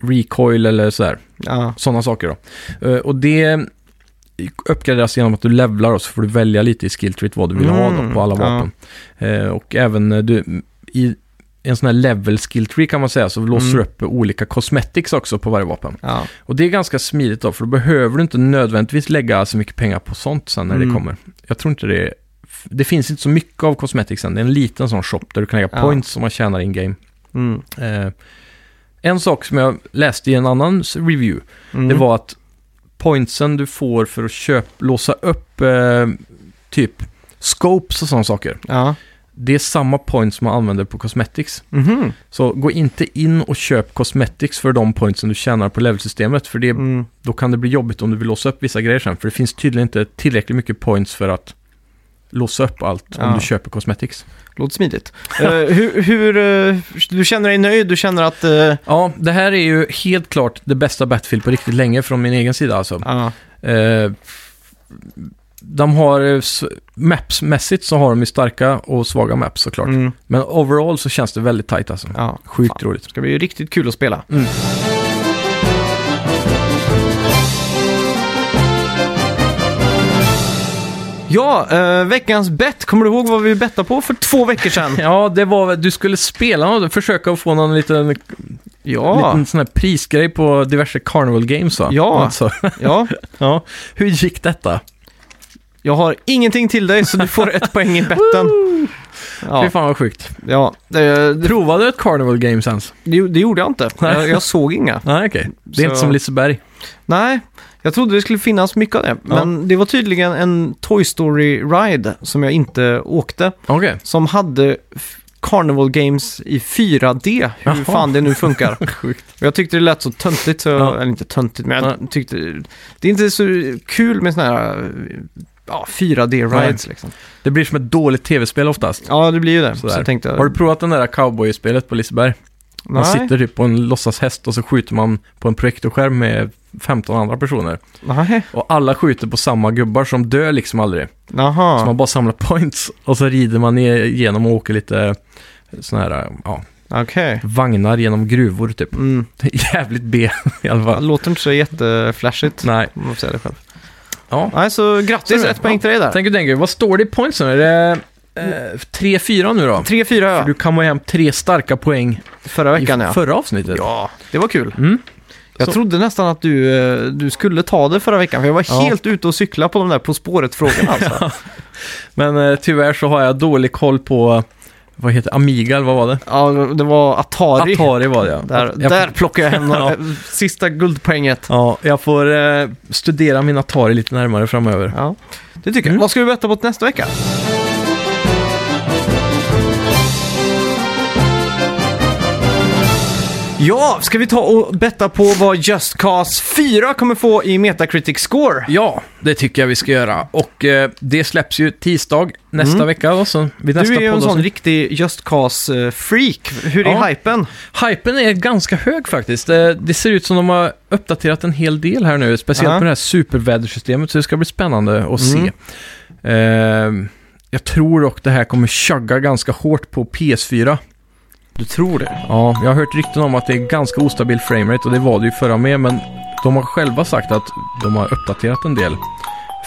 S2: recoil eller så här,
S1: Ja.
S2: sådana saker då. Eh, och det uppgraderas genom att du levlar och så får du välja lite i skill treet vad du vill ha
S1: Mm,
S2: då på alla
S1: ja.
S2: vapen. Eh, och även eh, du, i en sån här level skill tree kan man säga, så låser
S1: Mm.
S2: du upp olika cosmetics också på varje vapen.
S1: Ja.
S2: Och det är ganska smidigt då, för då behöver du inte nödvändigtvis lägga så mycket pengar på sånt sen när
S1: Mm.
S2: det kommer. Jag tror inte det är... Det finns inte så mycket av cosmeticsen. Det är en liten sån shop där du kan lägga
S1: Ja.
S2: points som man tjänar in game.
S1: Mm.
S2: Eh, en sak som jag läste i en annan s- review,
S1: Mm.
S2: det var att pointsen du får för att köp, låsa upp eh, typ scopes och sådana saker,
S1: Ja.
S2: det är samma points som man använder på cosmetics.
S1: Mhm.
S2: Så gå inte in och köp cosmetics för de pointsen du tjänar på levelsystemet, för det,
S1: Mm.
S2: då kan det bli jobbigt om du vill låsa upp vissa grejer sen, för det finns tydligen inte tillräckligt mycket points för att låsa upp allt
S1: Ja.
S2: om du köper cosmetics.
S1: Låter smidigt. Eh, hur, hur, eh, du känner dig nöjd? Du känner att... eh,
S2: Ja, det här är ju helt klart det bästa Battlefield på riktigt länge från min egen sida alltså.
S1: ja.
S2: Eh, de har, eh, s- maps-mässigt så har de ju starka och svaga maps såklart.
S1: Mm.
S2: Men overall så känns det väldigt tight alltså.
S1: ja.
S2: Sjukt
S1: Fan.
S2: roligt.
S1: Det ska bli riktigt kul att spela.
S2: Mm.
S1: Ja, eh, veckans bett. Kommer du ihåg vad vi bettade på för två veckor
S2: *laughs*
S1: sedan?
S2: Ja, det var väl- du skulle spela något, försöka få någon liten
S1: Ja,
S2: liten sån här prisgrej på diverse Carnival Games va?
S1: Ja.
S2: Alltså,
S1: ja.
S2: ja. Hur gick detta?
S1: Jag har ingenting till dig så du får
S2: *laughs*
S1: ett poäng i betten.
S2: Fy
S1: Ja,
S2: fan vad sjukt.
S1: ja. Det, det,
S2: Provade du ett Carnival Games ens?
S1: det, det gjorde jag inte.
S2: Nej.
S1: Jag, jag såg inga.
S2: Nej, okej. Det är
S1: Så-
S2: inte som Liseberg.
S1: Nej, jag trodde det skulle finnas mycket av det. Men det var tydligen en Toy Story Ride som jag inte åkte.
S2: Okej.
S1: Som hade f- Carnival Games i 4D. Hur
S2: Jaha.
S1: fan det nu funkar.
S2: *laughs* Sjukt.
S1: Och jag tyckte det lät så töntigt, så jag,
S2: Ja.
S1: eller inte töntigt, men
S2: Nej.
S1: jag tyckte... Det är inte så kul med sådana här ja, 4D-rides liksom.
S2: Det blir som ett dåligt tv-spel oftast.
S1: Ja, det blir ju det.
S2: Sådär.
S1: Så tänkte jag...
S2: Har du provat det där cowboy-spelet på Liseberg? Man
S1: nej,
S2: sitter typ på en låtsashäst och så skjuter man på en projektorskärm med 15 andra personer.
S1: nej,
S2: Och alla skjuter på samma gubbar som dör liksom aldrig. Så
S1: jaha,
S2: man bara samlar points och så rider man igenom och åker lite eh, sån här, ja,
S1: okej.
S2: vagnar genom gruvor typ. *laughs*
S1: Mm.
S2: Jävligt B i alla
S1: Det
S2: fall.
S1: låter inte så jätteflashigt.
S2: Nej.
S1: Om man får säga det själv.
S2: Ja.
S1: Nej, så grattis,
S2: Så är det.
S1: ett poäng till dig där.
S2: Tänk och tänk, vad står det i pointsen? Är det eh, 3-4 nu då?
S1: 3-4 ja.
S2: Du kammar hem tre starka poäng
S1: förra veckan
S2: i
S1: ja.
S2: förra avsnittet.
S1: Ja, det var kul.
S2: Mm.
S1: Jag
S2: Så-
S1: trodde nästan att du, eh, du skulle ta det förra veckan, för jag var
S2: Ja.
S1: helt ute och cykla på de där På spåret-frågorna
S2: *laughs*
S1: alltså.
S2: Men eh, tyvärr så har jag dålig koll på, eh, vad heter det? Amiga eller vad var det?
S1: ja, det var Atari.
S2: Atari var det ja.
S1: Där,
S2: jag,
S1: där
S2: Får,
S1: plockade jag
S2: *laughs*
S1: hem
S2: Ja.
S1: ja. sista guldpoänget.
S2: ja, jag får eh, studera min Atari lite närmare framöver.
S1: Ja, det tycker
S2: Mm.
S1: jag. Vad ska vi betta på till nästa vecka? Ja, ska vi ta och betta på vad Just Cause 4 kommer få i Metacritic Score?
S2: Ja, det tycker jag vi ska göra. Och eh, det släpps ju tisdag nästa vecka. Då, så vid nästa
S1: Du är ju en
S2: podd-
S1: sån riktig Just Cause-freak. Hur är
S2: Ja.
S1: hypen?
S2: Hypen är ganska hög faktiskt. Eh, Det ser ut som de har uppdaterat en hel del här nu, speciellt
S1: Ja.
S2: med det här supervädersystemet, så det ska bli spännande att
S1: Mm.
S2: se. Eh, jag tror dock det här kommer tjagga ganska hårt på PS4.
S1: Du tror det?
S2: Ja, jag har hört rykten om att det är ganska ostabil framerate och det var det ju förra med, men de har själva sagt att de har uppdaterat en del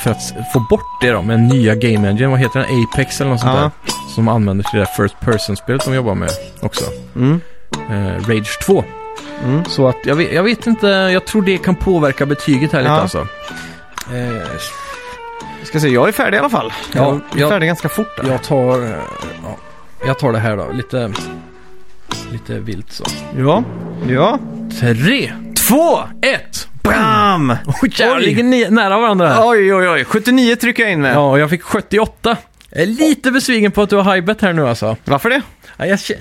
S2: för att s- få bort det då med nya Game Engine, vad heter den? Apex eller något sånt
S1: Ja.
S2: där. Som de använder till det där First Person-spelet de jobbar med också.
S1: Mm.
S2: Eh, Rage 2.
S1: Mm.
S2: Så att jag vet, jag alltså. vet inte, jag tror det kan påverka betyget här lite
S1: Ja.
S2: alltså. Eh,
S1: Ska se, jag är färdig i alla fall.
S2: Ja,
S1: jag är
S2: jag-
S1: färdig ganska fort. Där.
S2: Jag tar... eh, Ja, jag tar det här då. Lite... Lite vilt så.
S1: Ja. ja.
S2: Mm. Tre, två, ett! *laughs*
S1: Bam!
S2: Oj, jävlar, ligger ni nära varandra här.
S1: Oj, oj, oj. 79 trycker jag in med.
S2: Ja, och jag fick 78. Jag är lite besviken på att du har highbet här nu alltså.
S1: Varför det?
S2: Ja, Jag, kä-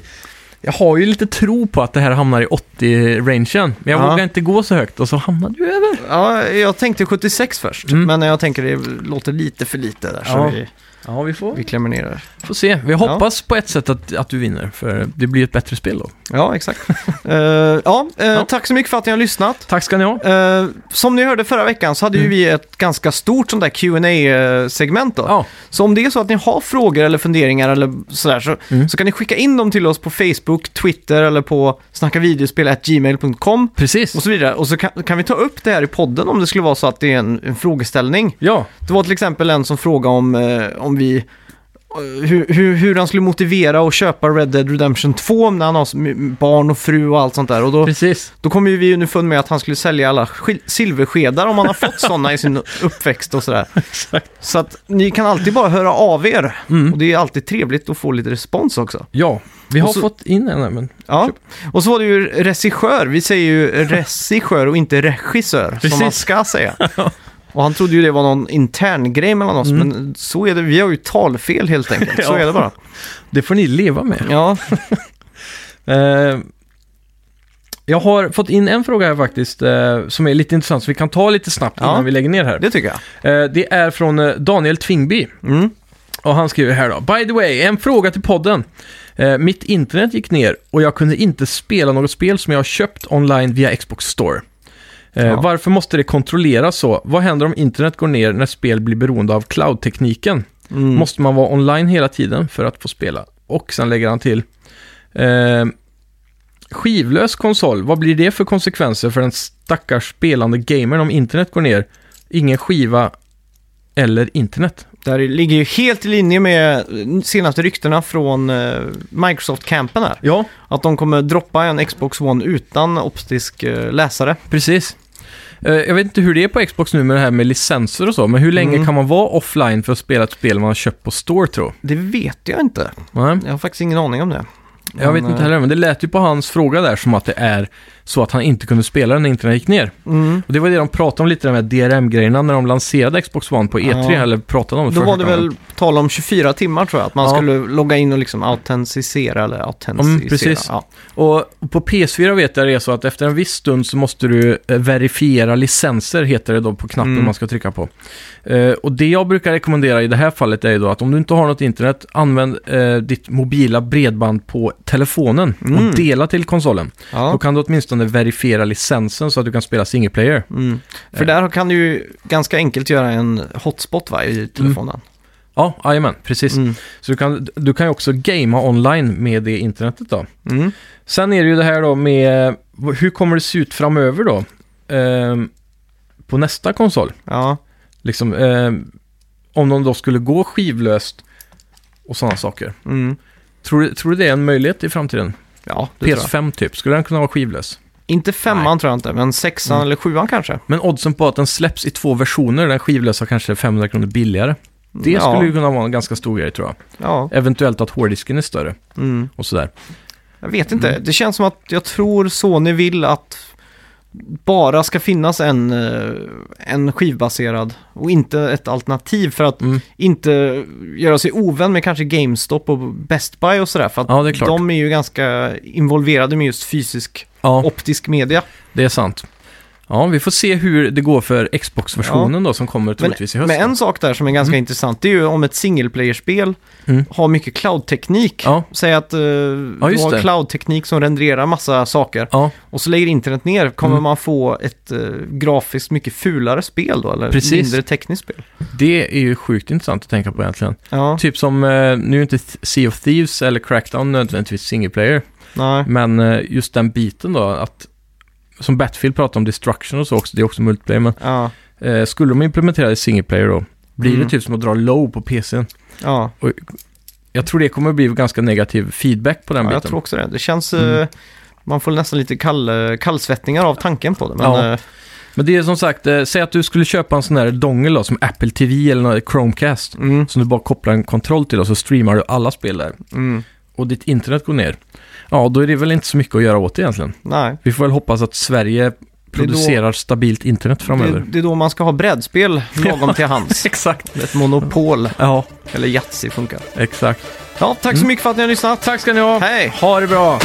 S2: jag har ju lite tro på att det här hamnar i 80-rangen, men jag
S1: Ja.
S2: vågar inte gå så högt och så hamnar du över.
S1: Ja, jag tänkte 76 först,
S2: Mm.
S1: men jag tänker det låter lite för lite där, så
S2: Ja.
S1: vi,
S2: Ja, vi får,
S1: vi klämmer ner det.
S2: får se. Vi hoppas på ett sätt att, att du vinner, för det blir ett bättre spel då.
S1: Ja, exakt. *laughs* Eh, ja, eh, tack så mycket för att ni har lyssnat.
S2: Tack ska ni ha.
S1: Eh, som ni hörde förra veckan så hade ju
S2: Mm.
S1: vi ett ganska stort sånt där qa eh, segment då.
S2: Ja,
S1: Så om det är så att ni har frågor eller funderingar eller sådär så,
S2: Mm.
S1: så kan ni skicka in dem till oss på Facebook, Twitter eller på snackavideospel.gmail.com
S2: precis.
S1: och så vidare. Och så kan, kan vi ta upp det här i podden om det skulle vara så att det är en, en frågeställning.
S2: Ja,
S1: Det var till exempel en som frågade om, eh, om vi eh, hur, hur, hur han skulle motivera att köpa Red Dead Redemption 2 när han har så my- barn och fru och allt sånt där. Och då,
S2: precis.
S1: då kommer ju vi underfund med att han skulle sälja alla skil- silverskedar om han har fått sådana i sin uppväxt och sådär.
S2: *laughs* Exakt.
S1: Så att ni kan alltid bara höra av er.
S2: Mm.
S1: Och det är alltid trevligt att få lite respons också.
S2: Ja, vi
S1: Och
S2: har
S1: så-
S2: fått in en här, men...
S1: Ja. Och så var det ju regissör. Vi säger ju regissör och inte regissör, som
S2: Precis.
S1: man ska
S2: *laughs*
S1: säga. Och han trodde ju det var någon intern grej mellan oss,
S2: Mm.
S1: men så är det. Vi har ju talfel helt enkelt. Så
S2: *laughs* Ja.
S1: är det bara.
S2: Det får ni leva med.
S1: Ja,
S2: Eh, jag har fått in en fråga här faktiskt, eh, som är lite intressant, så vi kan ta lite snabbt
S1: Ja.
S2: innan vi lägger ner här.
S1: det tycker jag.
S2: Eh, det är från eh, Daniel Tvingby.
S1: Mm.
S2: Och han skriver här då. By the way, en fråga till podden. Eh, mitt internet gick ner och jag kunde inte spela något spel som jag har köpt online via Xbox Store. Eh,
S1: Ja.
S2: Varför måste det kontrolleras så? Vad händer om internet går ner när spel blir beroende av cloud-tekniken?
S1: Mm.
S2: Måste man vara online hela tiden för att få spela? Och sen lägger han till. Eh, skivlös konsol, vad blir det för konsekvenser för den stackars spelande gamern om internet går ner? Ingen skiva eller internet.
S1: Där ligger ju helt i linje med senaste ryktena från eh, Microsoft-campen här.
S2: Ja,
S1: Att de kommer droppa en Xbox One utan optisk eh, läsare.
S2: Precis. Eh, Jag vet inte hur det är på Xbox nu med det här med licenser och så, men hur länge
S1: Mm.
S2: kan man vara offline för att spela ett spel man har köpt på Store, tror
S1: Det vet jag inte.
S2: Nej,
S1: Jag har faktiskt ingen aning om det.
S2: jag vet
S1: Men, eh,
S2: inte heller, men det lät ju på hans fråga där som att det är så att han inte kunde spela den när internet gick ner.
S1: Mm.
S2: Och det var det de pratade om lite, de här DRM-grejerna, när de lanserade Xbox One på
S1: Ja.
S2: E3, eller pratade om det
S1: Då
S2: för
S1: var det
S2: första gången.
S1: väl tal om 24 timmar tror jag, att man
S2: Ja.
S1: skulle logga in och liksom autentisera eller autentisera.
S2: Mm, precis.
S1: Ja.
S2: Och på PS4 vet jag det är så att efter en viss stund så måste du eh, verifiera licenser, heter det då på knappen
S1: Mm.
S2: man ska trycka på. Eh, och det jag brukar rekommendera i det här fallet är ju då att om du inte har något internet, använd eh, ditt mobila bredband på telefonen
S1: Mm.
S2: och dela till konsolen. Då
S1: Ja.
S2: kan du åtminstone verifiera licensen så att du kan spela single player.
S1: Mm.
S2: Eh.
S1: För där kan du ju ganska enkelt göra en hotspot va, i telefonen.
S2: Ja, jajamän, Mm. precis.
S1: Mm.
S2: Så du kan, du kan ju också gamea online med det internetet då.
S1: Mm.
S2: Sen är det ju det här då med, hur kommer det se ut framöver då? Ehm, på nästa konsol?
S1: Ja.
S2: Liksom, eh, om de då skulle gå skivlöst och sådana saker.
S1: Mm.
S2: Tror du, tror du det är en möjlighet i framtiden?
S1: Ja, det tror jag.
S2: PS5 typ, skulle den kunna vara skivlös?
S1: Inte femman tror jag inte, men sexan
S2: Mm.
S1: eller sjuan kanske.
S2: Men oddsen på att den släpps i två versioner, den skivlösa kanske är 500 kronor billigare. Det
S1: ja.
S2: skulle ju kunna vara en ganska stor grej tror jag.
S1: Ja.
S2: Eventuellt att hårddisken är större
S1: Mm.
S2: och sådär.
S1: Jag vet inte.
S2: Mm.
S1: Det känns som att jag tror Sony vill att bara ska finnas en, eh, en skivbaserad och inte ett alternativ för att
S2: Mm.
S1: inte göra sig ovän med kanske GameStop och Best Buy och sådär. För att
S2: Ja, det är klart.
S1: de är ju ganska involverade med just fysisk
S2: Ja,
S1: optisk media.
S2: det är sant. Ja, vi får se hur det går för Xbox-versionen då som kommer
S1: Men,
S2: troligtvis i
S1: men
S2: höst.
S1: en sak där som är ganska intressant det är ju om ett singleplayer-spel
S2: Mm.
S1: har mycket cloud-teknik.
S2: Ja.
S1: Säg att eh, du
S2: just
S1: har
S2: det.
S1: cloud-teknik som renderar massa saker.
S2: Ja,
S1: och så lägger internet ner, kommer
S2: Mm.
S1: man få ett eh, grafiskt mycket fulare spel då? Eller
S2: Precis.
S1: mindre tekniskt spel?
S2: det är ju sjukt intressant att tänka på egentligen.
S1: Ja,
S2: Typ som, eh, nu är inte Sea of Thieves eller Crackdown nödvändigtvis single player.
S1: nej.
S2: Men eh, just den biten då, att som Battlefield pratar om destruction och så också, det är också multiplayer, men
S1: Ja,
S2: eh, skulle de implementera det i single player då, blir
S1: Mm.
S2: det typ som att dra low på PCn.
S1: ja.
S2: Jag tror det kommer bli ganska negativ feedback på den
S1: ja
S2: biten.
S1: jag tror också det. Det känns...
S2: Mm.
S1: Eh, man får nästan lite kall, kallsvettningar av eh, tanken på det. Men,
S2: Ja.
S1: eh,
S2: Men det är som sagt, eh, säg att du skulle köpa en sån här dongel då, som Apple TV eller någon Chromecast.
S1: Mm.
S2: Som du bara kopplar en kontroll till och så streamar du alla spel där.
S1: Mm.
S2: Och ditt internet går ner. Ja, då är det väl inte så mycket att göra åt det egentligen.
S1: Nej.
S2: Vi får väl hoppas att Sverige producerar stabilt internet
S1: Det,
S2: framöver.
S1: det är då man ska ha
S2: *laughs*
S1: brädspel lagom till hands.
S2: Exakt.
S1: Ett monopol,
S2: Ja,
S1: eller Yatzy funkar.
S2: exakt.
S1: Ja, tack så mycket för att ni har lyssnat.
S2: Mm. Tack ska ni ha.
S1: Hej!
S2: Ha det bra.